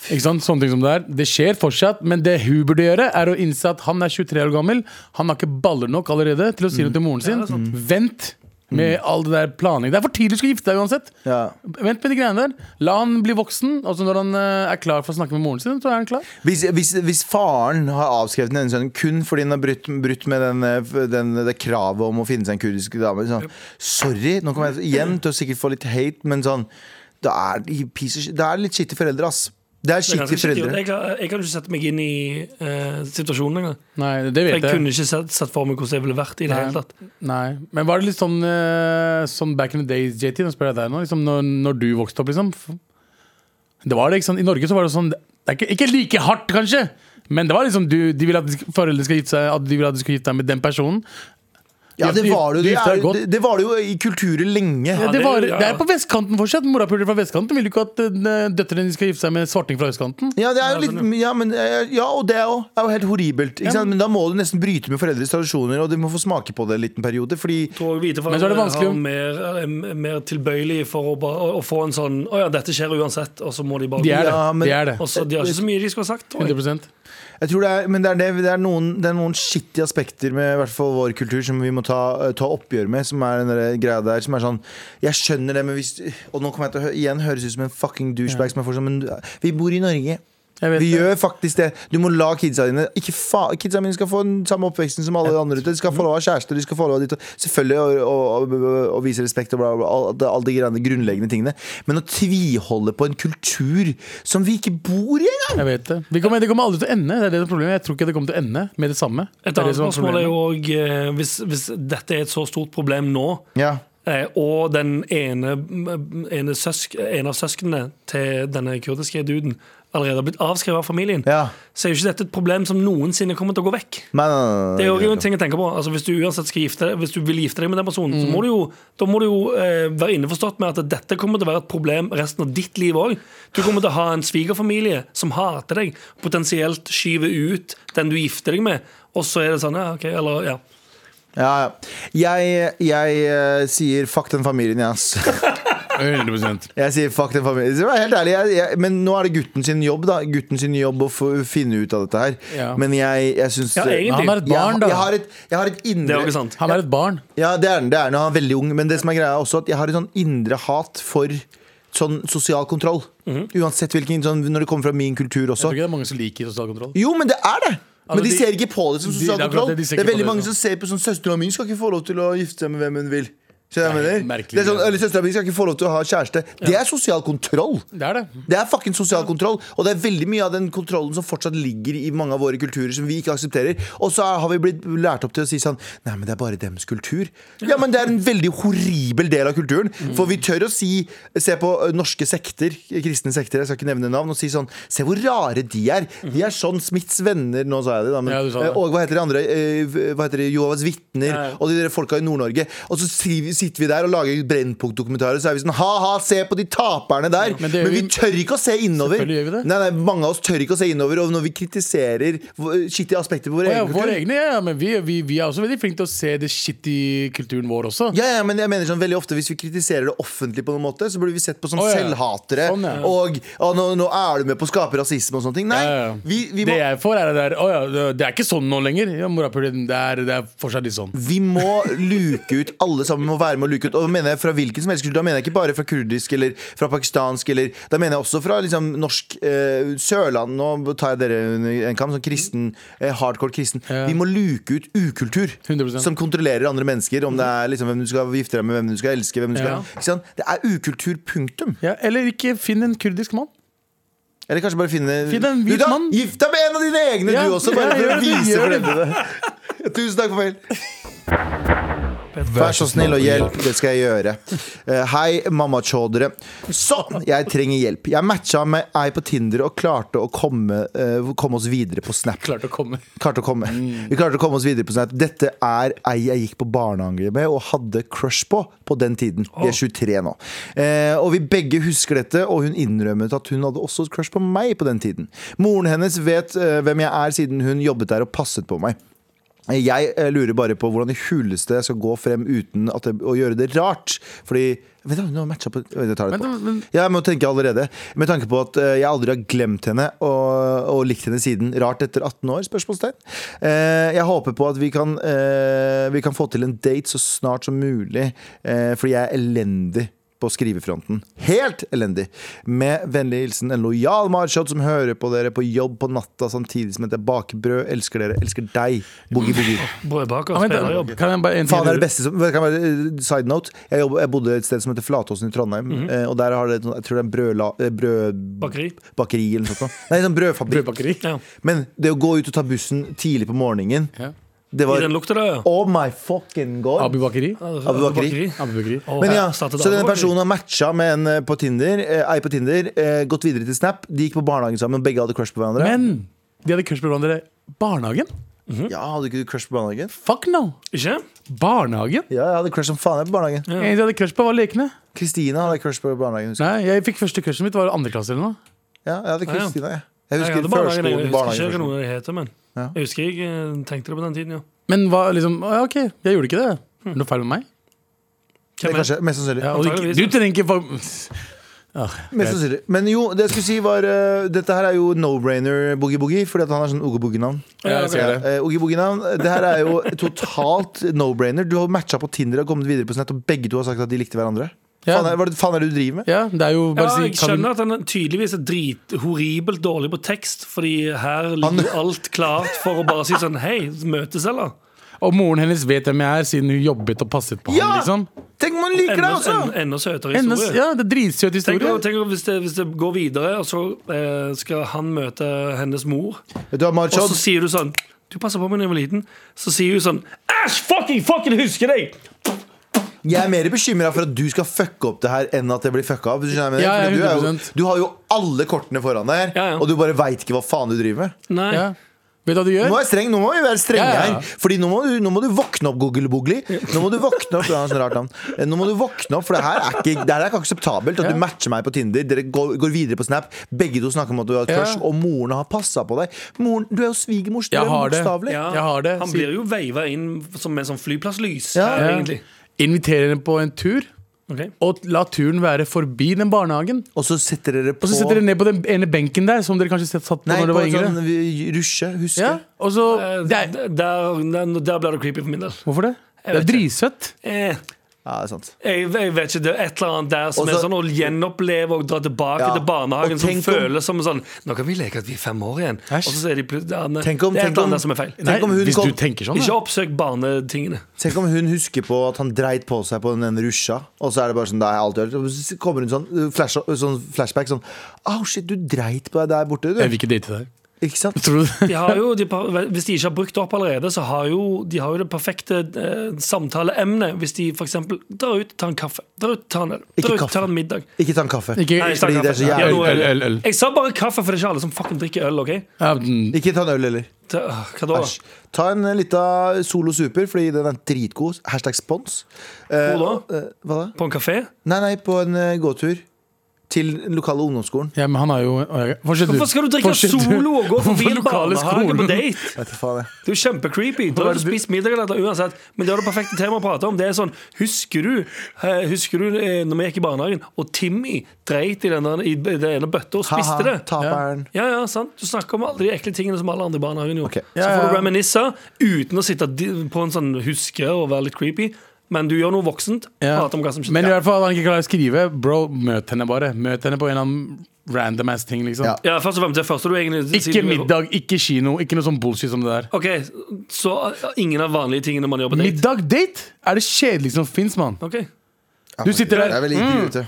Speaker 4: Ikke sant? Sånne ting som Det er Det skjer fortsatt, men det hun burde gjøre, er å innse at han er 23 år gammel. Han har ikke baller nok allerede til å si noe til moren sin. Vent med all det der planlegging. Det er for tidlig å skulle gifte deg uansett.
Speaker 2: Ja.
Speaker 4: Vent med de greiene der. La han bli voksen, og så når han eh, er klar for å snakke med moren sin, så er han klar.
Speaker 2: Hvis, hvis, hvis faren har avskrevet den ene sønnen kun fordi han har brutt, brutt med den, eh, den, det kravet om å finne seg en kurdisk dame sånn, Sorry, nå kommer jeg igjen til å sikkert få litt hate, men sånn Det er, de piece of shit- det er litt skittige foreldre, ass. Det er
Speaker 3: Det er ganske
Speaker 2: skittige
Speaker 3: skittig, og
Speaker 2: foreldre.
Speaker 3: Jeg, klarer- jeg kan ikke sette meg inn i eh, situasjonen engang.
Speaker 4: Nei, det
Speaker 3: Jeg
Speaker 4: vet jeg.
Speaker 3: kunne ikke sett, sett for meg hvordan jeg ville vært i det
Speaker 4: Nei.
Speaker 3: hele tatt.
Speaker 4: Nei. Men var det litt sånn eh, som back in the days, JT? Nå spør jeg deg nå. Liksom, når, når du vokste opp, liksom. Det var det, ikke sant? I Norge så var det sånn det er ikke, ikke like hardt, kanskje, men det var liksom du, de ville at de sk- foreldrene skal gifte seg At de ville at du skulle gifte deg med den personen.
Speaker 2: Ja, det var det jo,
Speaker 4: Du
Speaker 2: det,
Speaker 4: gifter deg
Speaker 2: er,
Speaker 4: godt.
Speaker 2: det, det var det jo i kulturen lenge.
Speaker 4: Ja,
Speaker 3: Ja,
Speaker 4: det,
Speaker 3: det-
Speaker 4: var,
Speaker 3: ja, ja.
Speaker 4: det er på vestkanten fortsatt. Morapuler fra vestkanten vil jo ikke at eh, døtrene dine skal gifte seg med svarting fra østkanten.
Speaker 2: Ja, det er jo litt, ja, men, eh, ja og det er jo, er jo helt horribelt. Ikke sant? Men da må du nesten bryte med foreldres tradisjoner, og du må få smake på det en liten periode. Fordi
Speaker 3: Tror jeg hvite
Speaker 4: Men så er
Speaker 3: foreldre
Speaker 4: det vanskelig
Speaker 3: har
Speaker 4: om-
Speaker 3: mer, er mer tilbøyelig for å, bare, å, å få en sånn Å ja, dette skjer uansett, og så må de bare
Speaker 4: De er det.
Speaker 2: Ja, men-
Speaker 4: de er det.
Speaker 3: Og så, De har ikke så mye de skulle ha sagt. Tror jeg.
Speaker 4: 100
Speaker 2: jeg tror det er, men det er, det, det er noen, det er noen skittige aspekter med i hvert fall vår kultur som vi må ta, eh, ta oppgjør med, som er den der greia der som er sånn Jeg skjønner det, men hvis Og nå kommer jeg til å hø igjen høres ut som en fucking douchebag som er for sånn, men du- vi bor i Norge.
Speaker 4: Jeg vet
Speaker 2: Vi
Speaker 4: det.
Speaker 2: gjør faktisk det. Du må la kidsa dine ikke fa Kidsa mine skal få den samme oppveksten som alle de andre. ute. De skal få lov av kjæreste, de skal få lov av ditt og- Selvfølgelig å, å, å, å vise respekt og bla, bla, bla, alle de, alle de greiene, grunnleggende tingene. Men å tviholde på en kultur som vi ikke bor i engang!
Speaker 4: Jeg vet det. Vi kommer, det kommer aldri til å ende. Det er det som er problemet. Jeg tror ikke det kommer til å ende med det samme.
Speaker 3: Et
Speaker 4: Det er
Speaker 3: annet
Speaker 4: det som
Speaker 3: spørsmål er
Speaker 4: problemet.
Speaker 3: jo òg hvis, hvis dette er et så stort problem nå,
Speaker 2: Ja.
Speaker 3: eh, og den ene, ene søsk, en av søsknene til denne kurdiske duden allerede har blitt avskrevet av familien,
Speaker 2: Ja.
Speaker 3: så er jo ikke dette et problem som noensinne kommer til å gå vekk.
Speaker 2: Men, nei, nei, nei,
Speaker 3: Det er jo
Speaker 2: nei,
Speaker 3: en ting å tenke på. Altså, hvis du uansett skal gifte deg Hvis du vil gifte deg med den personen, så må du jo, da må du jo eh, være innforstått med at dette kommer til å være et problem resten av ditt liv òg. Du kommer til å ha en svigerfamilie som hater deg, potensielt skyver ut den du gifter deg med, og så er det sånn ja, OK, eller ja.
Speaker 2: Ja, ja. Jeg, jeg eh, sier fuck den familien, jeg, ass.
Speaker 4: 100
Speaker 2: Jeg sier fuck den familien. Det var helt ærlig, jeg, jeg, men nå er det gutten sin jobb, da. Gutten sin jobb å få finne ut av dette her.
Speaker 4: Ja.
Speaker 2: Men jeg, jeg syns
Speaker 3: Ja, egentlig.
Speaker 4: Han er et barn,
Speaker 2: jeg, jeg
Speaker 4: da.
Speaker 2: har et, jeg har et
Speaker 3: Det
Speaker 2: indre
Speaker 3: er jo ikke sant.
Speaker 4: Han er et barn.
Speaker 2: Ja, det er den. Det er den, og han er veldig ung. Men det som er greia er også at jeg har et sånn indre hat for sånn sosial kontroll. Uansett hvilken sånn, Når det kommer fra min kultur
Speaker 4: Jeg
Speaker 2: også.
Speaker 4: tror ikke det Mhm. er mange som liker sosial kontroll.
Speaker 2: Jo, men det er det! Men
Speaker 4: Altså,
Speaker 2: de,
Speaker 4: de-
Speaker 2: ser ikke på det som
Speaker 4: de-
Speaker 2: sosial
Speaker 4: det er akkurat
Speaker 2: kontroll.
Speaker 4: det, de
Speaker 2: Det
Speaker 4: ser
Speaker 2: er
Speaker 4: ikke på
Speaker 2: veldig
Speaker 4: det
Speaker 2: mange
Speaker 4: som-
Speaker 2: som ser på sånn Søstera mi skal ikke få lov til å gifte seg med hvem hun vil. Skjønner du hva jeg
Speaker 4: Nei,
Speaker 2: mener?
Speaker 4: merkelig
Speaker 2: Det er sånn,
Speaker 4: greie.
Speaker 2: eller Søstera mi skal ikke få lov til å ha kjæreste. Det er sosial kontroll!
Speaker 4: Det er det.
Speaker 2: Det er fucking sosial kontroll, og det er veldig mye av den kontrollen som fortsatt ligger i mange av våre kulturer som vi ikke aksepterer. Og så har vi blitt lært opp til å si sånn Nei, men det er bare deres kultur. Ja, men det er en veldig horribel del av kulturen. For vi tør å si Se på ø, norske sekter, kristne sekter, jeg skal ikke nevne navn, og si sånn Se hvor rare de er. De er sånn Smiths venner, nå sa jeg det, da, men
Speaker 4: Ja, du sa det.
Speaker 2: ø, Og hva heter de andre? Ø, Hva heter det? Jehovas vitner
Speaker 3: Ja, ja.
Speaker 2: og de der folka i Nord-Norge. Og så skriver- sitter vi der og lager Brennpunkt-dokumentarer, så er vi sånn ha-ha, se på de taperne der.
Speaker 4: Men
Speaker 2: Men,
Speaker 4: det gjør
Speaker 2: vi
Speaker 4: vi-
Speaker 2: tør ikke å se innover.
Speaker 4: Selvfølgelig gjør vi det.
Speaker 2: Nei, nei, mange av oss tør ikke å se innover, og når vi kritiserer v- skittige aspekter på vår
Speaker 4: Å ja,
Speaker 2: egen kultur
Speaker 4: våre egne, ja, ja, men vi, vi, vi er også veldig flinke til å se det shit i kulturen vår også.
Speaker 2: ja, ja, men jeg mener sånn veldig ofte Hvis vi kritiserer det offentlig, på noen måte så blir vi sett på som
Speaker 4: Å, ja.
Speaker 2: selvhatere.
Speaker 4: Sånn, ja.
Speaker 2: Og «Å, nå, 'nå er du med på å skape rasisme' og sånne ting. Nei,
Speaker 4: Ja, ja.
Speaker 2: Vi, vi,
Speaker 4: Det
Speaker 2: må,
Speaker 4: jeg får, er det der Å ja, det- det er ikke sånn nå lenger. Ja, morapuler, det, er, det er fortsatt litt sånn.
Speaker 2: vi må luke ut Alle sammen må være med å luke ut. Og da mener jeg fra hvilken som helst kultur Da mener jeg ikke bare fra kurdisk eller fra pakistansk. Eller, da mener jeg også fra liksom, norsk eh, Sørland. Nå tar jeg dere under en kam. Sånn kristen, eh, hardcore kristen.
Speaker 4: Ja.
Speaker 2: Vi må luke ut ukultur.
Speaker 4: 100%.
Speaker 2: Som kontrollerer andre mennesker. Om det er liksom, hvem du skal gifte deg med, hvem du skal elske. Hvem du skal,
Speaker 4: Ja.
Speaker 2: ikke sant? Det er ukultur, punktum.
Speaker 4: Ja, eller ikke finn en kurdisk mann.
Speaker 2: Eller kanskje bare finne
Speaker 4: Finn en hvit
Speaker 2: Du da,
Speaker 4: mann.
Speaker 2: Gift deg med en av dine egne,
Speaker 4: Ja.
Speaker 2: du også, bare for
Speaker 4: Ja,
Speaker 2: å
Speaker 4: gjør det,
Speaker 2: vise
Speaker 4: gjør det.
Speaker 2: foreldrene det. Tusen takk for mail. Vær så snill og hjelp, det skal jeg gjøre. Eh, hei, mamma-tjådere. Sånn, jeg trenger hjelp. Jeg matcha med ei på Tinder og klarte å komme, eh, komme oss videre på Snap.
Speaker 4: Klarte å komme.
Speaker 2: Klarte å komme. Vi klarte å komme oss videre på Snap. Dette er ei jeg gikk på barnehage med og hadde crush på på den tiden. Vi er 23 nå. Eh, og vi begge husker dette, og hun innrømmet at hun hadde også crush på meg på den tiden. Moren hennes vet eh, hvem jeg er, siden hun jobbet der og passet på meg. Jeg eh, lurer bare på hvordan i huleste jeg skal gå frem uten at det, å gjøre det rart. Fordi Vent, da, nå matcha på Vent, Jeg tar det
Speaker 4: Men-
Speaker 2: på.
Speaker 4: men-
Speaker 2: Jeg må tenke allerede. Med tanke på at eh, jeg aldri har glemt henne og, og likt henne siden. Rart etter 18 år? spørsmålstegn. Eh, Jeg håper på at vi kan, eh, vi kan få til en date så snart som mulig, eh, fordi jeg er elendig. På skrivefronten. Helt elendig! Med vennlig hilsen en lojal Marshot som hører på dere på jobb på natta samtidig som jeg baker brød. Elsker dere. Elsker deg. Boogie, boogie.
Speaker 3: Brødbaker,
Speaker 4: Ja, men,
Speaker 3: spillerjobb.
Speaker 4: kan jeg bare en ting
Speaker 2: Faen, det er det
Speaker 4: gjøre?
Speaker 2: beste som, det kan være, eh, Side note jeg, jobb, jeg bodde et sted som heter Flatåsen i Trondheim eh, Og der har det, et sånt- jeg tror det er en brødla, eh, brødbakeri
Speaker 3: Mhm. Bakeri.
Speaker 2: eller noe sånt Nei, sånn brødfabrikk
Speaker 4: Brødbakeri.
Speaker 3: Ja.
Speaker 2: Men det å gå ut og ta bussen tidlig på morgenen
Speaker 4: Ja.
Speaker 2: Det
Speaker 3: I
Speaker 2: var,
Speaker 3: den lukta der, ja.
Speaker 2: oh my fucking god
Speaker 4: Abu Bakeri.
Speaker 2: Abu Bakri.
Speaker 4: Abu Bakeri.
Speaker 3: Å,
Speaker 2: men ja,
Speaker 3: her
Speaker 2: så
Speaker 3: startet
Speaker 2: denne
Speaker 3: Abu Bakri.
Speaker 2: personen har matcha med en eh, på Tinder eh, Ei på Tinder, eh, gått videre til Snap De gikk på barnehagen sammen, og begge hadde crush på hverandre
Speaker 4: Men de hadde crush på hverandre. Barnehagen?
Speaker 2: Mhm. Ja, hadde ikke du crush på barnehagen?
Speaker 4: Fuck no!
Speaker 3: Ikke?
Speaker 4: Barnehagen?
Speaker 2: Ja, jeg hadde crush som faen jeg på barnehagen
Speaker 4: En jeg hadde crush på, var lekene.
Speaker 2: Kristina hadde crush på barnehagen husker jeg.
Speaker 4: Nei, jeg fikk første crushet mitt var andre klasse eller noe.
Speaker 2: Ja, jeg hadde
Speaker 3: ja.
Speaker 2: Kristina, jeg Jeg
Speaker 3: Jeg,
Speaker 2: husker
Speaker 3: hadde barnehagen, jeg
Speaker 2: førskolen,
Speaker 3: husker
Speaker 2: barnehagen
Speaker 3: ikke noe det heter, men
Speaker 2: Ja.
Speaker 3: jeg husker jeg eh, tenkte det på den tiden, ja.
Speaker 4: Men hva, liksom, «Å, ja, ok, jeg gjorde ikke det. Er det noe feil med meg?
Speaker 2: Det er
Speaker 3: Hvem er-
Speaker 2: kanskje, mest sannsynlig.
Speaker 4: Ja, og du,
Speaker 3: antageligvis.
Speaker 4: du trenger ikke fa-
Speaker 2: Mest sannsynlig. Men jo, det jeg skulle si var eh, Dette her er jo no-brainer Boogie Boogie, fordi at han har sånn Oogie Boogie-navn.
Speaker 4: Ja, jeg ser det.
Speaker 2: Eh, Oogie Boogie-navn Det her er jo totalt no-brainer. Du har matcha på Tinder og kommet videre på snett, og begge to har sagt at de likte hverandre.
Speaker 4: Ja.
Speaker 2: Faen er, hva er det- faen er det du driver med?
Speaker 4: Ja, det er jo
Speaker 3: Ja,
Speaker 4: bare å si
Speaker 3: jeg skjønner at han er tydeligvis er drit horribelt dårlig på tekst, fordi her ligger jo alt klart for å bare si sånn Hei, møtes, eller?
Speaker 4: Og moren hennes vet hvem jeg er, siden hun jobbet og passet på
Speaker 2: Ja!
Speaker 4: ham. liksom
Speaker 2: Tenk om han liker deg
Speaker 3: Enda,
Speaker 4: altså.
Speaker 2: også!
Speaker 3: en- enda søtere
Speaker 4: Hennes,
Speaker 3: historie.
Speaker 4: ja, Det er dritsøt
Speaker 3: Tenk,
Speaker 4: historie.
Speaker 3: om- tenk om hvis, det, hvis det går videre, og så eh, skal han møte hennes mor,
Speaker 2: Vet du hva,
Speaker 3: og så
Speaker 2: Marchod?
Speaker 3: sier du sånn Du passa på meg da jeg var liten. Så sier hun sånn Æsj, fucking fucking husker deg!
Speaker 2: Jeg er mer bekymra for at du skal fucke opp det her enn at det blir fucka opp. Du, skjønner hva jeg
Speaker 4: Ja,
Speaker 2: mener?
Speaker 4: ja,
Speaker 2: For du, er
Speaker 4: 100%.
Speaker 2: jo, du har jo alle kortene foran deg,
Speaker 3: Ja, ja.
Speaker 2: og du bare veit ikke hva faen du driver med.
Speaker 3: Nei.
Speaker 4: Ja. Vet du hva du
Speaker 2: Nå,
Speaker 4: gjør?
Speaker 2: er jeg streng, nå må vi være strenge
Speaker 4: Ja, ja, ja.
Speaker 2: her. Fordi nå må, du, nå må du våkne opp, Google Boogly. Nå må du våkne opp, det er et rart navn. Eh, Nå må du våkne opp, for det her er ikke, det her er ikke akseptabelt. At du matcher meg på Tinder, dere går, går videre på Snap. Begge to snakker om at du har et crush,
Speaker 4: Ja.
Speaker 2: og moren har passa på deg. Moren, Du er jo svigermors
Speaker 4: Jeg
Speaker 2: drøm,
Speaker 4: har det.
Speaker 2: bokstavelig.
Speaker 3: Ja,
Speaker 4: Jeg har det.
Speaker 3: Han
Speaker 4: Si-
Speaker 3: blir jo veiva inn som med sånn flyplasslys
Speaker 2: Ja.
Speaker 3: her,
Speaker 4: Ja.
Speaker 3: egentlig.
Speaker 4: Inviterer henne på en tur,
Speaker 3: Ok.
Speaker 4: og la turen være forbi den barnehagen.
Speaker 2: Og så setter dere på
Speaker 4: Og så setter dere ned på den ene benken der, som dere kanskje satt på
Speaker 2: Nei,
Speaker 4: når dere
Speaker 2: på
Speaker 4: var
Speaker 2: en
Speaker 4: yngre.
Speaker 2: sånn vi- rusje, husker
Speaker 4: Ja, og så
Speaker 3: Eh,
Speaker 4: det
Speaker 3: Der,
Speaker 4: er,
Speaker 3: der, der blir det creepy for min del.
Speaker 4: Hvorfor det? Det er
Speaker 3: vet ikke.
Speaker 4: dritsøtt.
Speaker 3: Eh,
Speaker 2: Ja, det er sant
Speaker 3: jeg, jeg vet ikke, det er et eller annet der som
Speaker 2: Også-
Speaker 3: er sånn å gjenoppleve og dra tilbake
Speaker 2: Ja,
Speaker 3: til barnehagen.
Speaker 2: og
Speaker 3: Som
Speaker 2: tenk om-
Speaker 3: føles som en sånn Nå kan vi leke at vi er fem år igjen.
Speaker 4: Æsj.
Speaker 3: Og så er de plutselig ja, nei,
Speaker 2: Tenk om-
Speaker 3: Det er et
Speaker 2: tenk
Speaker 3: eller
Speaker 2: om-
Speaker 3: annet som er feil.
Speaker 2: Tenk om hun
Speaker 4: hvis
Speaker 2: kom-
Speaker 4: du tenker sånn,
Speaker 3: Ikke
Speaker 4: da.
Speaker 3: oppsøk barnetingene.
Speaker 2: Tenk om hun husker på at han dreit på seg på den rusja, og så er det bare sånn, det har jeg alltid hørt. Og så kommer hun sånn, uh, flash, sånn flashback sånn Au, shit, du dreit på deg der borte,
Speaker 4: Jeg
Speaker 2: du.
Speaker 4: vil ikke date deg.
Speaker 2: Ikke sant?
Speaker 4: Tror du det?
Speaker 3: De har jo, de, par- hvis de ikke har brukt det opp allerede, så har jo, de har jo det perfekte eh, samtaleemnet. Hvis de f.eks. drar ut, tar en kaffe, drar ut, tar en øl,
Speaker 2: Ikke
Speaker 3: drar ut,
Speaker 2: kaffe.
Speaker 3: tar en middag.
Speaker 2: Ikke ta en kaffe.
Speaker 4: Ikke,
Speaker 3: Nei,
Speaker 2: Fordi det er så
Speaker 3: kaffe.
Speaker 2: jævlig.
Speaker 4: øl, øl, øl, øl.
Speaker 3: Jeg sa bare kaffe, for det er ikke alle som fucking drikker øl. ok?
Speaker 4: Ja, den-
Speaker 2: Ikke ta en øl heller.
Speaker 3: Det, øh, hva da?
Speaker 2: Æsj. Ta en eh, lita Solo Super, fordi den er dritgod. Hashtag spons. Eh,
Speaker 3: Hvor da?
Speaker 2: eh, hva da?
Speaker 3: På en kafé?
Speaker 2: Nei, nei, på en eh, gåtur. Til den lokale ungdomsskolen.
Speaker 4: Ja, men han har jo å, jeg- Fortsett, du.
Speaker 3: Hvorfor skal du drikke
Speaker 4: Fortsett, du.
Speaker 3: solo og gå forbi
Speaker 4: Hvorfor
Speaker 3: en
Speaker 4: lokale
Speaker 3: barnehage på
Speaker 4: skolen?
Speaker 3: date?
Speaker 2: Vet du faen, jeg.
Speaker 3: Det er jo kjempecreepy. Da har du spist middag eller noe uansett. Men det er det perfekte temaet å prate om. Det er sånn, Husker du eh, Husker du eh, når vi gikk i barnehagen, og Timmy dreit i den, der, i den ene bøtta og spiste
Speaker 2: Haha,
Speaker 3: det?
Speaker 2: taperen.
Speaker 3: Ja, ja, sant? Du snakker om alle de ekle tingene som alle andre i barnehagen
Speaker 2: Ok.
Speaker 3: gjorde.
Speaker 4: Ja,
Speaker 3: Så får
Speaker 4: ja.
Speaker 3: du reminisse uten å sitte di- på en sånn huske og være litt creepy. Men du gjør noe voksent.
Speaker 4: Ja.
Speaker 3: Prate om hva som skjer.
Speaker 4: Men i hvert fall han ikke klarer å skrive. Bro, møt henne bare. Møt henne på en eller annen random ass ting, liksom.
Speaker 2: Ja.
Speaker 3: Ja, først og fremst, det første du egentlig
Speaker 4: Ikke middag, ikke kino, ikke noe sånn bullshit som det der.
Speaker 3: Ok, Så eh, ingen av vanlige tingene man gjør på date?
Speaker 4: Middag, date? Er det kjedeligste som fins, mann?
Speaker 3: Ok,
Speaker 4: Du sitter der. Mm.
Speaker 2: Det er vel ikke ute.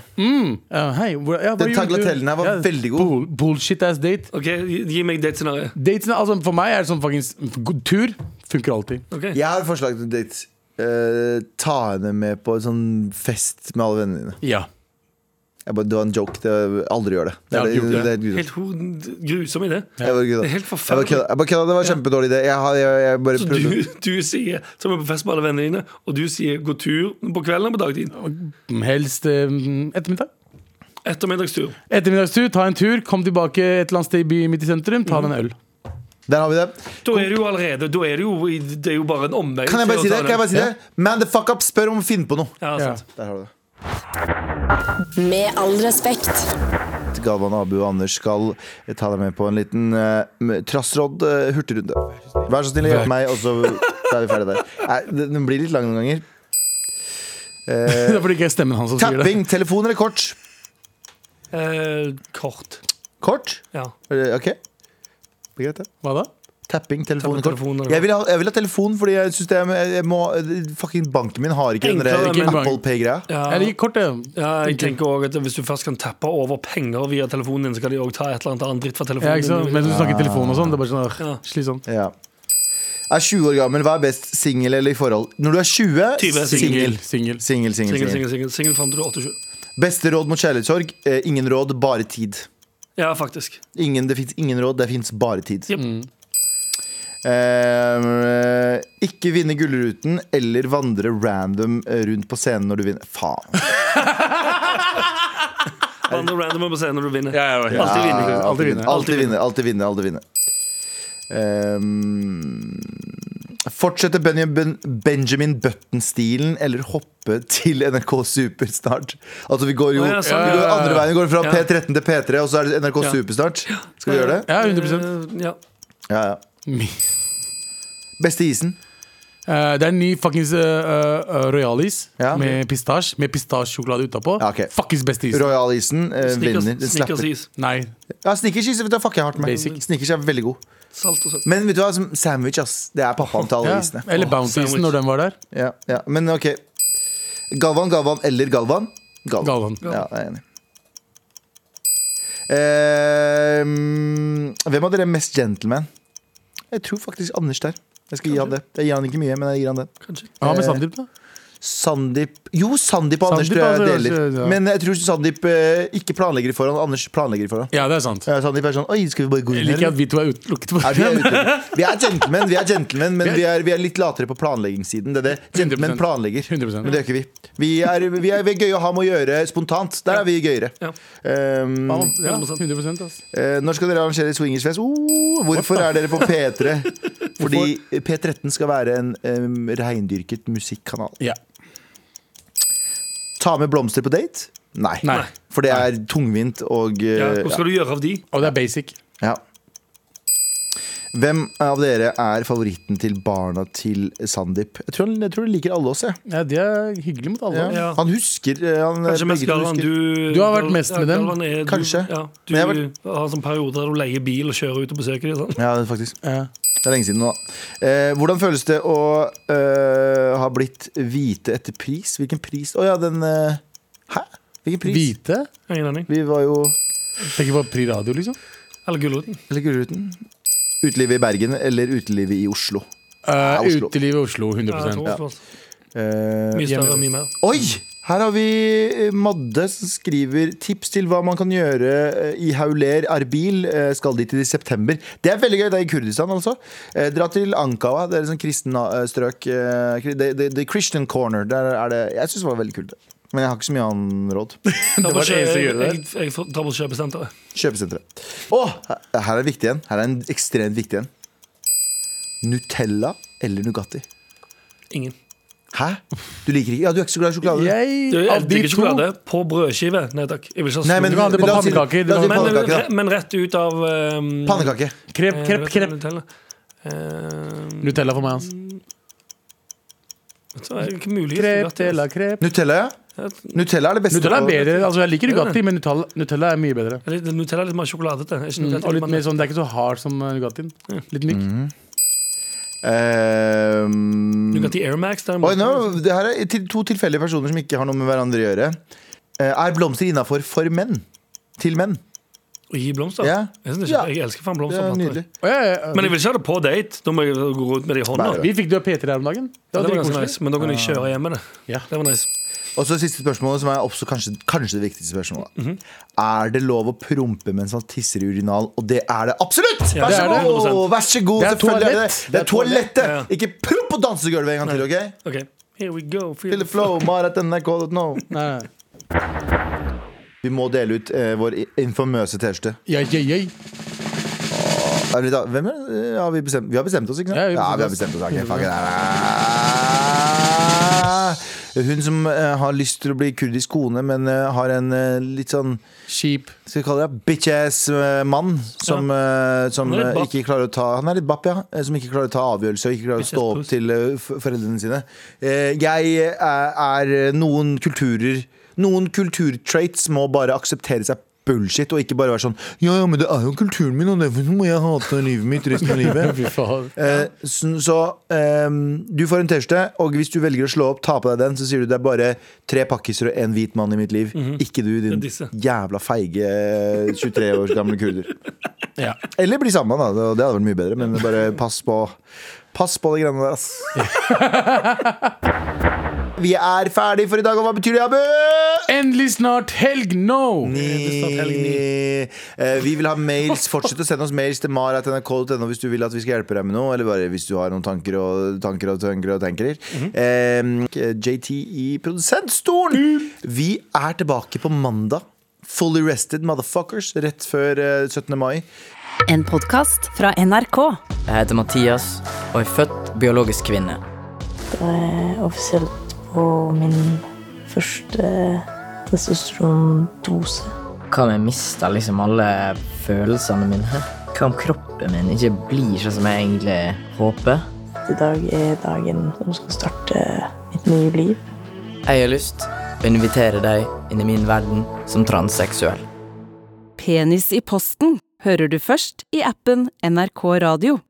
Speaker 4: Ja, hei, hvor, ja, hva
Speaker 2: Den
Speaker 4: gjorde du?
Speaker 2: tagliatellen her var
Speaker 4: Ja,
Speaker 2: veldig god.
Speaker 4: bull- Bullshit ass date.
Speaker 3: ok, gi- Gi meg datescenarioet.
Speaker 4: Datene, altså For meg er det sånn fuckings god tur. Funker alltid.
Speaker 3: Okay.
Speaker 2: Jeg har et forslag til date. Eh, ta henne med på en sånn fest med alle vennene dine.
Speaker 4: Ja.
Speaker 2: Jeg bare, det var en joke. Det, aldri gjør det. Det
Speaker 4: Ja,
Speaker 2: er, det,
Speaker 4: gjorde
Speaker 2: det,
Speaker 4: det.
Speaker 2: er grusomt.
Speaker 3: Helt hod- grusom idé.
Speaker 2: Jeg bare kødda.
Speaker 3: Det er helt
Speaker 2: Jeg bare
Speaker 3: forferdelig.
Speaker 2: kødda. Jeg bare kødda. Det var en kjempedårlig idé. Jeg, har- jeg, jeg bare
Speaker 3: Så
Speaker 2: prøvde
Speaker 3: du, du sier, som er på fest med alle vennene dine, og du sier gå tur på kvelden eller på dagtid.
Speaker 4: Helst eh, ettermiddag.
Speaker 3: Ettermiddagstur.
Speaker 4: Ettermiddagstur, ta en tur, kom tilbake et eller annet sted i byen midt i sentrum, ta deg en øl.
Speaker 2: Der har vi det.
Speaker 3: Da er det jo allerede da er det, jo, i- det er jo bare en omvei.
Speaker 2: Kan jeg bare si
Speaker 3: til å ta
Speaker 2: det? Kan jeg bare si det? Man the fuck up, spør om å finne på noe.
Speaker 3: Ja,
Speaker 4: Ja.
Speaker 3: sant.
Speaker 2: Der har du det.
Speaker 1: Med all respekt.
Speaker 2: Galvan, Abu og Anders skal eh, ta deg med på en liten uh, trassrådd eh, hurtigrunde. Vær så snill, hjelp meg, og så er vi ferdige der. Nei, den- den blir litt lang noen ganger.
Speaker 4: Det er fordi det ikke er stemmen hans som sier det.
Speaker 2: Tapping, telefon eller kort?
Speaker 3: Eh, kort.
Speaker 2: Kort?
Speaker 3: Ja.
Speaker 2: Eh, OK. Det er greit, det.
Speaker 4: Hva da?
Speaker 2: Tapping, telefon,
Speaker 3: Tapping,
Speaker 2: kort.
Speaker 3: telefon, eller-
Speaker 2: Jeg vil, ha, jeg vil ha telefon, fordi jeg synes det er, jeg må, fucking banken min har ikke den der
Speaker 3: Enklere,
Speaker 4: men-
Speaker 2: Apple Pay-greia.
Speaker 3: Ja.
Speaker 4: Jeg liker kort, jeg.
Speaker 3: Ja, jeg tenker også at Hvis du først kan tappe over penger via telefonen din, så kan de òg ta et eller annet annet dritt fra
Speaker 4: Ja, ikke sant?
Speaker 3: telefonen. din.
Speaker 4: Mens du snakker i telefonen og sånn. Det er bare sånn
Speaker 3: Ja.
Speaker 4: ah, slitsomt.
Speaker 2: Ja. Er 20 år gammel, hva er best, singel eller i forhold? Når du er 20,
Speaker 3: 20,
Speaker 2: singel. Singel, singel,
Speaker 4: Singel.
Speaker 3: Singel,
Speaker 2: singel.
Speaker 3: singel, singel. Singel fram til du er 28.
Speaker 2: Beste råd mot kjærlighetssorg? Eh, ingen råd, bare tid.
Speaker 3: Ja, faktisk.
Speaker 2: Ingen, det fins ingen råd, det fins bare tid.
Speaker 3: Jep.
Speaker 4: Mm.
Speaker 2: Eh, ikke vinne Gullruten eller vandre random eh, rundt på scenen når du vinner. Faen.
Speaker 3: Vandre random på scenen når du vinner.
Speaker 4: ja.
Speaker 3: Alltid vinner.
Speaker 2: Ja,
Speaker 4: Alltid vinne.
Speaker 2: Alltid vinne. Alltid vinne. Alltid vinne. Ehm, fortsette Benjamin, Benjamin Button-stilen eller hoppe til NRK Super snart. Altså vi går jo
Speaker 3: Å, ja, sånn,
Speaker 2: vi går
Speaker 4: ja.
Speaker 2: andre veien. Vi går fra
Speaker 3: Ja.
Speaker 2: P13 til P3, og så er det NRK
Speaker 3: Ja.
Speaker 2: Super snart. Skal vi gjøre det?
Speaker 4: Ja, 100
Speaker 3: Eh, ja.
Speaker 2: Ja, ja. Beste isen?
Speaker 4: Eh, Det er en ny fuckings uh, royalis
Speaker 2: Ja.
Speaker 4: med pistasj. Med pistasjesjokolade utapå.
Speaker 2: Ja, ok.
Speaker 4: Fuckings beste is.
Speaker 2: Royal-isen eh,
Speaker 3: Snickers-
Speaker 2: vinner. Den
Speaker 3: Snickers
Speaker 2: slapper.
Speaker 3: is.
Speaker 4: Nei.
Speaker 2: Ja, Snickers is, vet du, hva, fucker jeg hardt med.
Speaker 4: Basic.
Speaker 2: Snickers er veldig god.
Speaker 3: Salt og søtt.
Speaker 2: Men vet du hva, som sandwich, ass. Det er pappaen til alle
Speaker 4: Ja.
Speaker 2: isene.
Speaker 4: Eller
Speaker 3: Åh,
Speaker 4: Bounty-isen
Speaker 3: sandwich.
Speaker 4: når den var der.
Speaker 2: Ja, ja. Men ok. Galvan, Galvan eller Galvan? Galvan.
Speaker 4: Galvan.
Speaker 2: Ja, jeg er enig. Eh, hvem av dere er mest gentleman? Jeg tror faktisk Anders der. Jeg skal gi han det. Jeg gir han ikke mye, men jeg gir han det.
Speaker 3: Kanskje.
Speaker 2: Eh.
Speaker 4: Hva med Sandeep, da?
Speaker 2: Sandeep Jo, Sandeep og Anders
Speaker 4: Sandeep,
Speaker 2: tror jeg
Speaker 4: altså,
Speaker 2: deler.
Speaker 4: ja.
Speaker 2: Men jeg tror Sandeep eh, ikke planlegger i forhånd. Anders planlegger i forhånd.
Speaker 4: Ja, det er sant.
Speaker 2: Ja, Sandeep er sånn Oi, skal vi bare gå
Speaker 4: Jeg
Speaker 2: inn
Speaker 4: liker
Speaker 2: her?
Speaker 4: at vi to er utelukket på
Speaker 2: Nei, vi, er
Speaker 4: den.
Speaker 2: ute. vi er gentlemen, vi er gentlemen men vi er, vi er litt latere på planleggingssiden. Det er det. Gentlemen
Speaker 4: 100%.
Speaker 2: planlegger,
Speaker 4: 100%.
Speaker 2: men det gjør ikke vi. Vi er, vi er, vi er gøye å ha med å gjøre spontant. Der er vi gøyere.
Speaker 3: Ja.
Speaker 2: Um,
Speaker 4: Ja, 100 ass.
Speaker 2: eh, når skal dere arrangere swingersfest? Oh, hvorfor er dere på P3? Fordi P13 skal være en um, reindyrket musikkanal.
Speaker 4: Ja.
Speaker 2: Ta med blomster på date? Nei.
Speaker 4: Nei.
Speaker 2: For det er tungvint og eh,
Speaker 3: Ja, hva skal du gjøre av de?
Speaker 4: Og det er basic.
Speaker 2: Ja. Hvem av dere er favoritten til barna til Sandeep? Jeg tror han, jeg tror han liker alle oss. Jeg.
Speaker 4: Ja, de er hyggelige mot alle.
Speaker 3: Ja.
Speaker 2: Han husker. eh, Han,
Speaker 3: Kanskje mest
Speaker 2: begge to
Speaker 3: Galvan,
Speaker 2: husker.
Speaker 3: du
Speaker 4: Du har vært mest med dem.
Speaker 3: Galvan er, du,
Speaker 2: Kanskje.
Speaker 3: Ja, du
Speaker 2: Men jeg har
Speaker 3: har, en sånn periode der du leier bil og kjører ut og besøker dem. Sånn.
Speaker 2: Ja, faktisk.
Speaker 4: Ja.
Speaker 2: Det er lenge siden nå. Eh, hvordan føles det å eh, ha blitt hvite etter pris? Hvilken pris? Å ja, den eh, Hæ? Hvilken pris?
Speaker 4: Hvite?
Speaker 3: Ingen aning.
Speaker 2: Vi var jo
Speaker 4: Tenker på Pri Radio, liksom.
Speaker 3: Eller Gulroten.
Speaker 2: Eller Gullruten? Utelivet i Bergen eller utelivet i Oslo?
Speaker 4: Uh,
Speaker 2: Oslo.
Speaker 4: Utelivet i Oslo,
Speaker 3: Ja, jeg
Speaker 4: 100
Speaker 3: tror også.
Speaker 2: Eh,
Speaker 3: Mye større, mye mer.
Speaker 2: Oi! Her har vi eh, Madde som skriver tips til hva man kan gjøre eh, i Hauler Arbil. Eh, Skal dit i september. Det er veldig gøy. Det er i Kurdistan, altså. Eh, Dra til Ankawa. Det er et sånt kristen eh, strøk. Eh, kri- The, the, the Christian Corner. Der er det Jeg syns det var veldig kult. Men jeg har ikke så mye annet råd.
Speaker 3: Det
Speaker 4: var det eneste å gjøre der.
Speaker 3: Jeg, jeg, jeg tar på kjøpesenteret.
Speaker 2: Kjøpesenteret. Å! her- her er det viktig en. Her er en ekstremt viktig en. Nutella eller Nugatti?
Speaker 3: Ingen.
Speaker 2: Hæ? Du liker ikke Ja, du er ikke så glad i sjokolade?
Speaker 3: Du,
Speaker 4: Jeg,
Speaker 3: jeg
Speaker 4: av de
Speaker 3: elsker ikke
Speaker 4: to
Speaker 3: sjokolade på brødskive. Nei takk. Jeg vil ikke ha
Speaker 2: Nei,
Speaker 3: stor-
Speaker 2: men,
Speaker 4: Du kan ha det på
Speaker 2: la oss si-
Speaker 4: pannekaker, du
Speaker 2: la oss si
Speaker 4: kan ha
Speaker 3: men,
Speaker 2: pannekaker, da.
Speaker 3: men, men rett ut av um,
Speaker 2: Pannekake.
Speaker 4: Krepp,
Speaker 3: Eh,
Speaker 4: krepp, krepp.
Speaker 3: krepp.
Speaker 4: Nutella for meg, ass.
Speaker 3: Ikke mulig.
Speaker 4: Krepp, tella, krepp.
Speaker 2: Nutella, ja. Nutella er det beste.
Speaker 4: Nutella er
Speaker 2: på-
Speaker 4: bedre. Altså, jeg liker Nugatti, men Nutella, Nutella er mye bedre.
Speaker 3: Litt- Nutella er litt mer sjokoladete. Er ikke
Speaker 4: Mm,
Speaker 3: Nutella
Speaker 4: og litt
Speaker 3: man-
Speaker 4: mer sånn, Det er ikke så hard som eh, Nugattien. Litt myk.
Speaker 2: Ehm,
Speaker 3: Nugatti Air Max.
Speaker 2: Oi, nå, det her er til, to tilfeldige personer som ikke har noe med hverandre å gjøre. Eh, er blomster innafor for menn? Til menn?
Speaker 3: Å gi blomster?
Speaker 2: Ja.
Speaker 3: Jeg, synes
Speaker 2: Ja.
Speaker 3: ikke, jeg elsker faen
Speaker 2: Det er
Speaker 3: blomsterplanter.
Speaker 2: nydelig.
Speaker 4: Å, ja, ja,
Speaker 3: Men
Speaker 4: ja.
Speaker 3: jeg vil ikke ha det på date. Da må jeg gå rundt med det i hånda.
Speaker 2: Nei,
Speaker 4: Vi fikk det av P3 her om dagen. Det
Speaker 3: Det
Speaker 4: var
Speaker 3: var ganske
Speaker 4: dritkoselig.
Speaker 3: nice, men da kunne jeg kjøre hjem med det.
Speaker 4: Ja.
Speaker 3: Det var nice.
Speaker 2: Og så siste spørsmålet, som er også kanskje, kanskje det viktigste spørsmålet.
Speaker 4: Mhm.
Speaker 2: Er det lov å prompe mens man tisser i urinal? Og det er det absolutt!
Speaker 3: Ja,
Speaker 2: vær,
Speaker 4: det
Speaker 2: så
Speaker 4: er det.
Speaker 2: god, vær så god!
Speaker 4: Det er
Speaker 2: selvfølgelig er det
Speaker 4: toalett.
Speaker 2: det. Det er toalettet!
Speaker 3: Ja, ja.
Speaker 2: Ikke promp på dansegulvet en gang til, OK?
Speaker 3: Ok, here we go. Feel
Speaker 2: Feel the
Speaker 3: the flow.
Speaker 2: flow, maratnrk.no.
Speaker 4: Nei, nei.
Speaker 2: Vi må dele ut eh, vår i- infamøse T-skjorte.
Speaker 4: Ja, ja, ja.
Speaker 2: Er det da, hvem er det? Har vi, bestemt, vi har bestemt oss, ikke sant?
Speaker 4: Ja,
Speaker 2: Ja,
Speaker 4: vi har
Speaker 2: vi har bestemt oss.
Speaker 4: bestemt
Speaker 2: ok, fuck it. Ah! Hun som eh, har lyst til å bli kurdisk kone, men eh, har en eh, litt sånn
Speaker 4: Kjip.
Speaker 2: Skal vi kalle det bitch-ass-mann som, eh, som
Speaker 3: Han er litt
Speaker 2: eh,
Speaker 3: bapp.
Speaker 2: ikke klarer å ta Han er litt bapp, ja. eh, Som ikke klarer å ta avgjørelser og ikke klarer å stå opp
Speaker 3: Bitch-ass-puss.
Speaker 2: til eh, f- foreldrene sine. Eh, Jeg eh, er noen kulturer Noen kulturtraits må bare akseptere seg bullshit, og ikke bare være sånn Ja, ja, men det er jo kulturen min, og derfor må jeg hate livet mitt resten av livet.
Speaker 4: Fy faen.
Speaker 2: Eh, så så ehm, du får en T-skjorte, og hvis du velger å slå opp, ta på deg den, så sier du det er bare tre pakkiser og en hvit mann i mitt liv. Ikke du, din
Speaker 3: Mhm. Det er disse.
Speaker 2: jævla feige eh, 23 år gamle kurder.
Speaker 4: Ja.
Speaker 2: Eller bli sammen, da. Det det hadde vært mye bedre, men bare pass på Pass på de greiene der, ass. Vi er ferdig for i dag, og hva betyr det, Abu?
Speaker 4: Endelig snart helg nå!
Speaker 2: Ni. Eh, Vi vil ha mails. Fortsett å sende oss mails til mar.nrk.no hvis du vil at vi skal hjelpe deg med noe, eller bare hvis du har noen tanker og tanker og tanker. og tanker eh, JT i produsentstolen! Vi er tilbake på mandag. Fully rested motherfuckers rett før eh, 17. mai.
Speaker 1: En podkast fra NRK.
Speaker 5: Jeg heter Mathias og er født biologisk kvinne.
Speaker 6: eh, offisielt på min første testosterondose.
Speaker 5: Hva om jeg mister liksom alle følelsene mine? Hva om kroppen min ikke blir sånn som jeg egentlig håper?
Speaker 6: I dag er dagen som skal starte mitt nye liv.
Speaker 5: Jeg har lyst å invitere deg inn i min verden som transseksuell.
Speaker 1: Penis i posten hører du først i appen NRK Radio.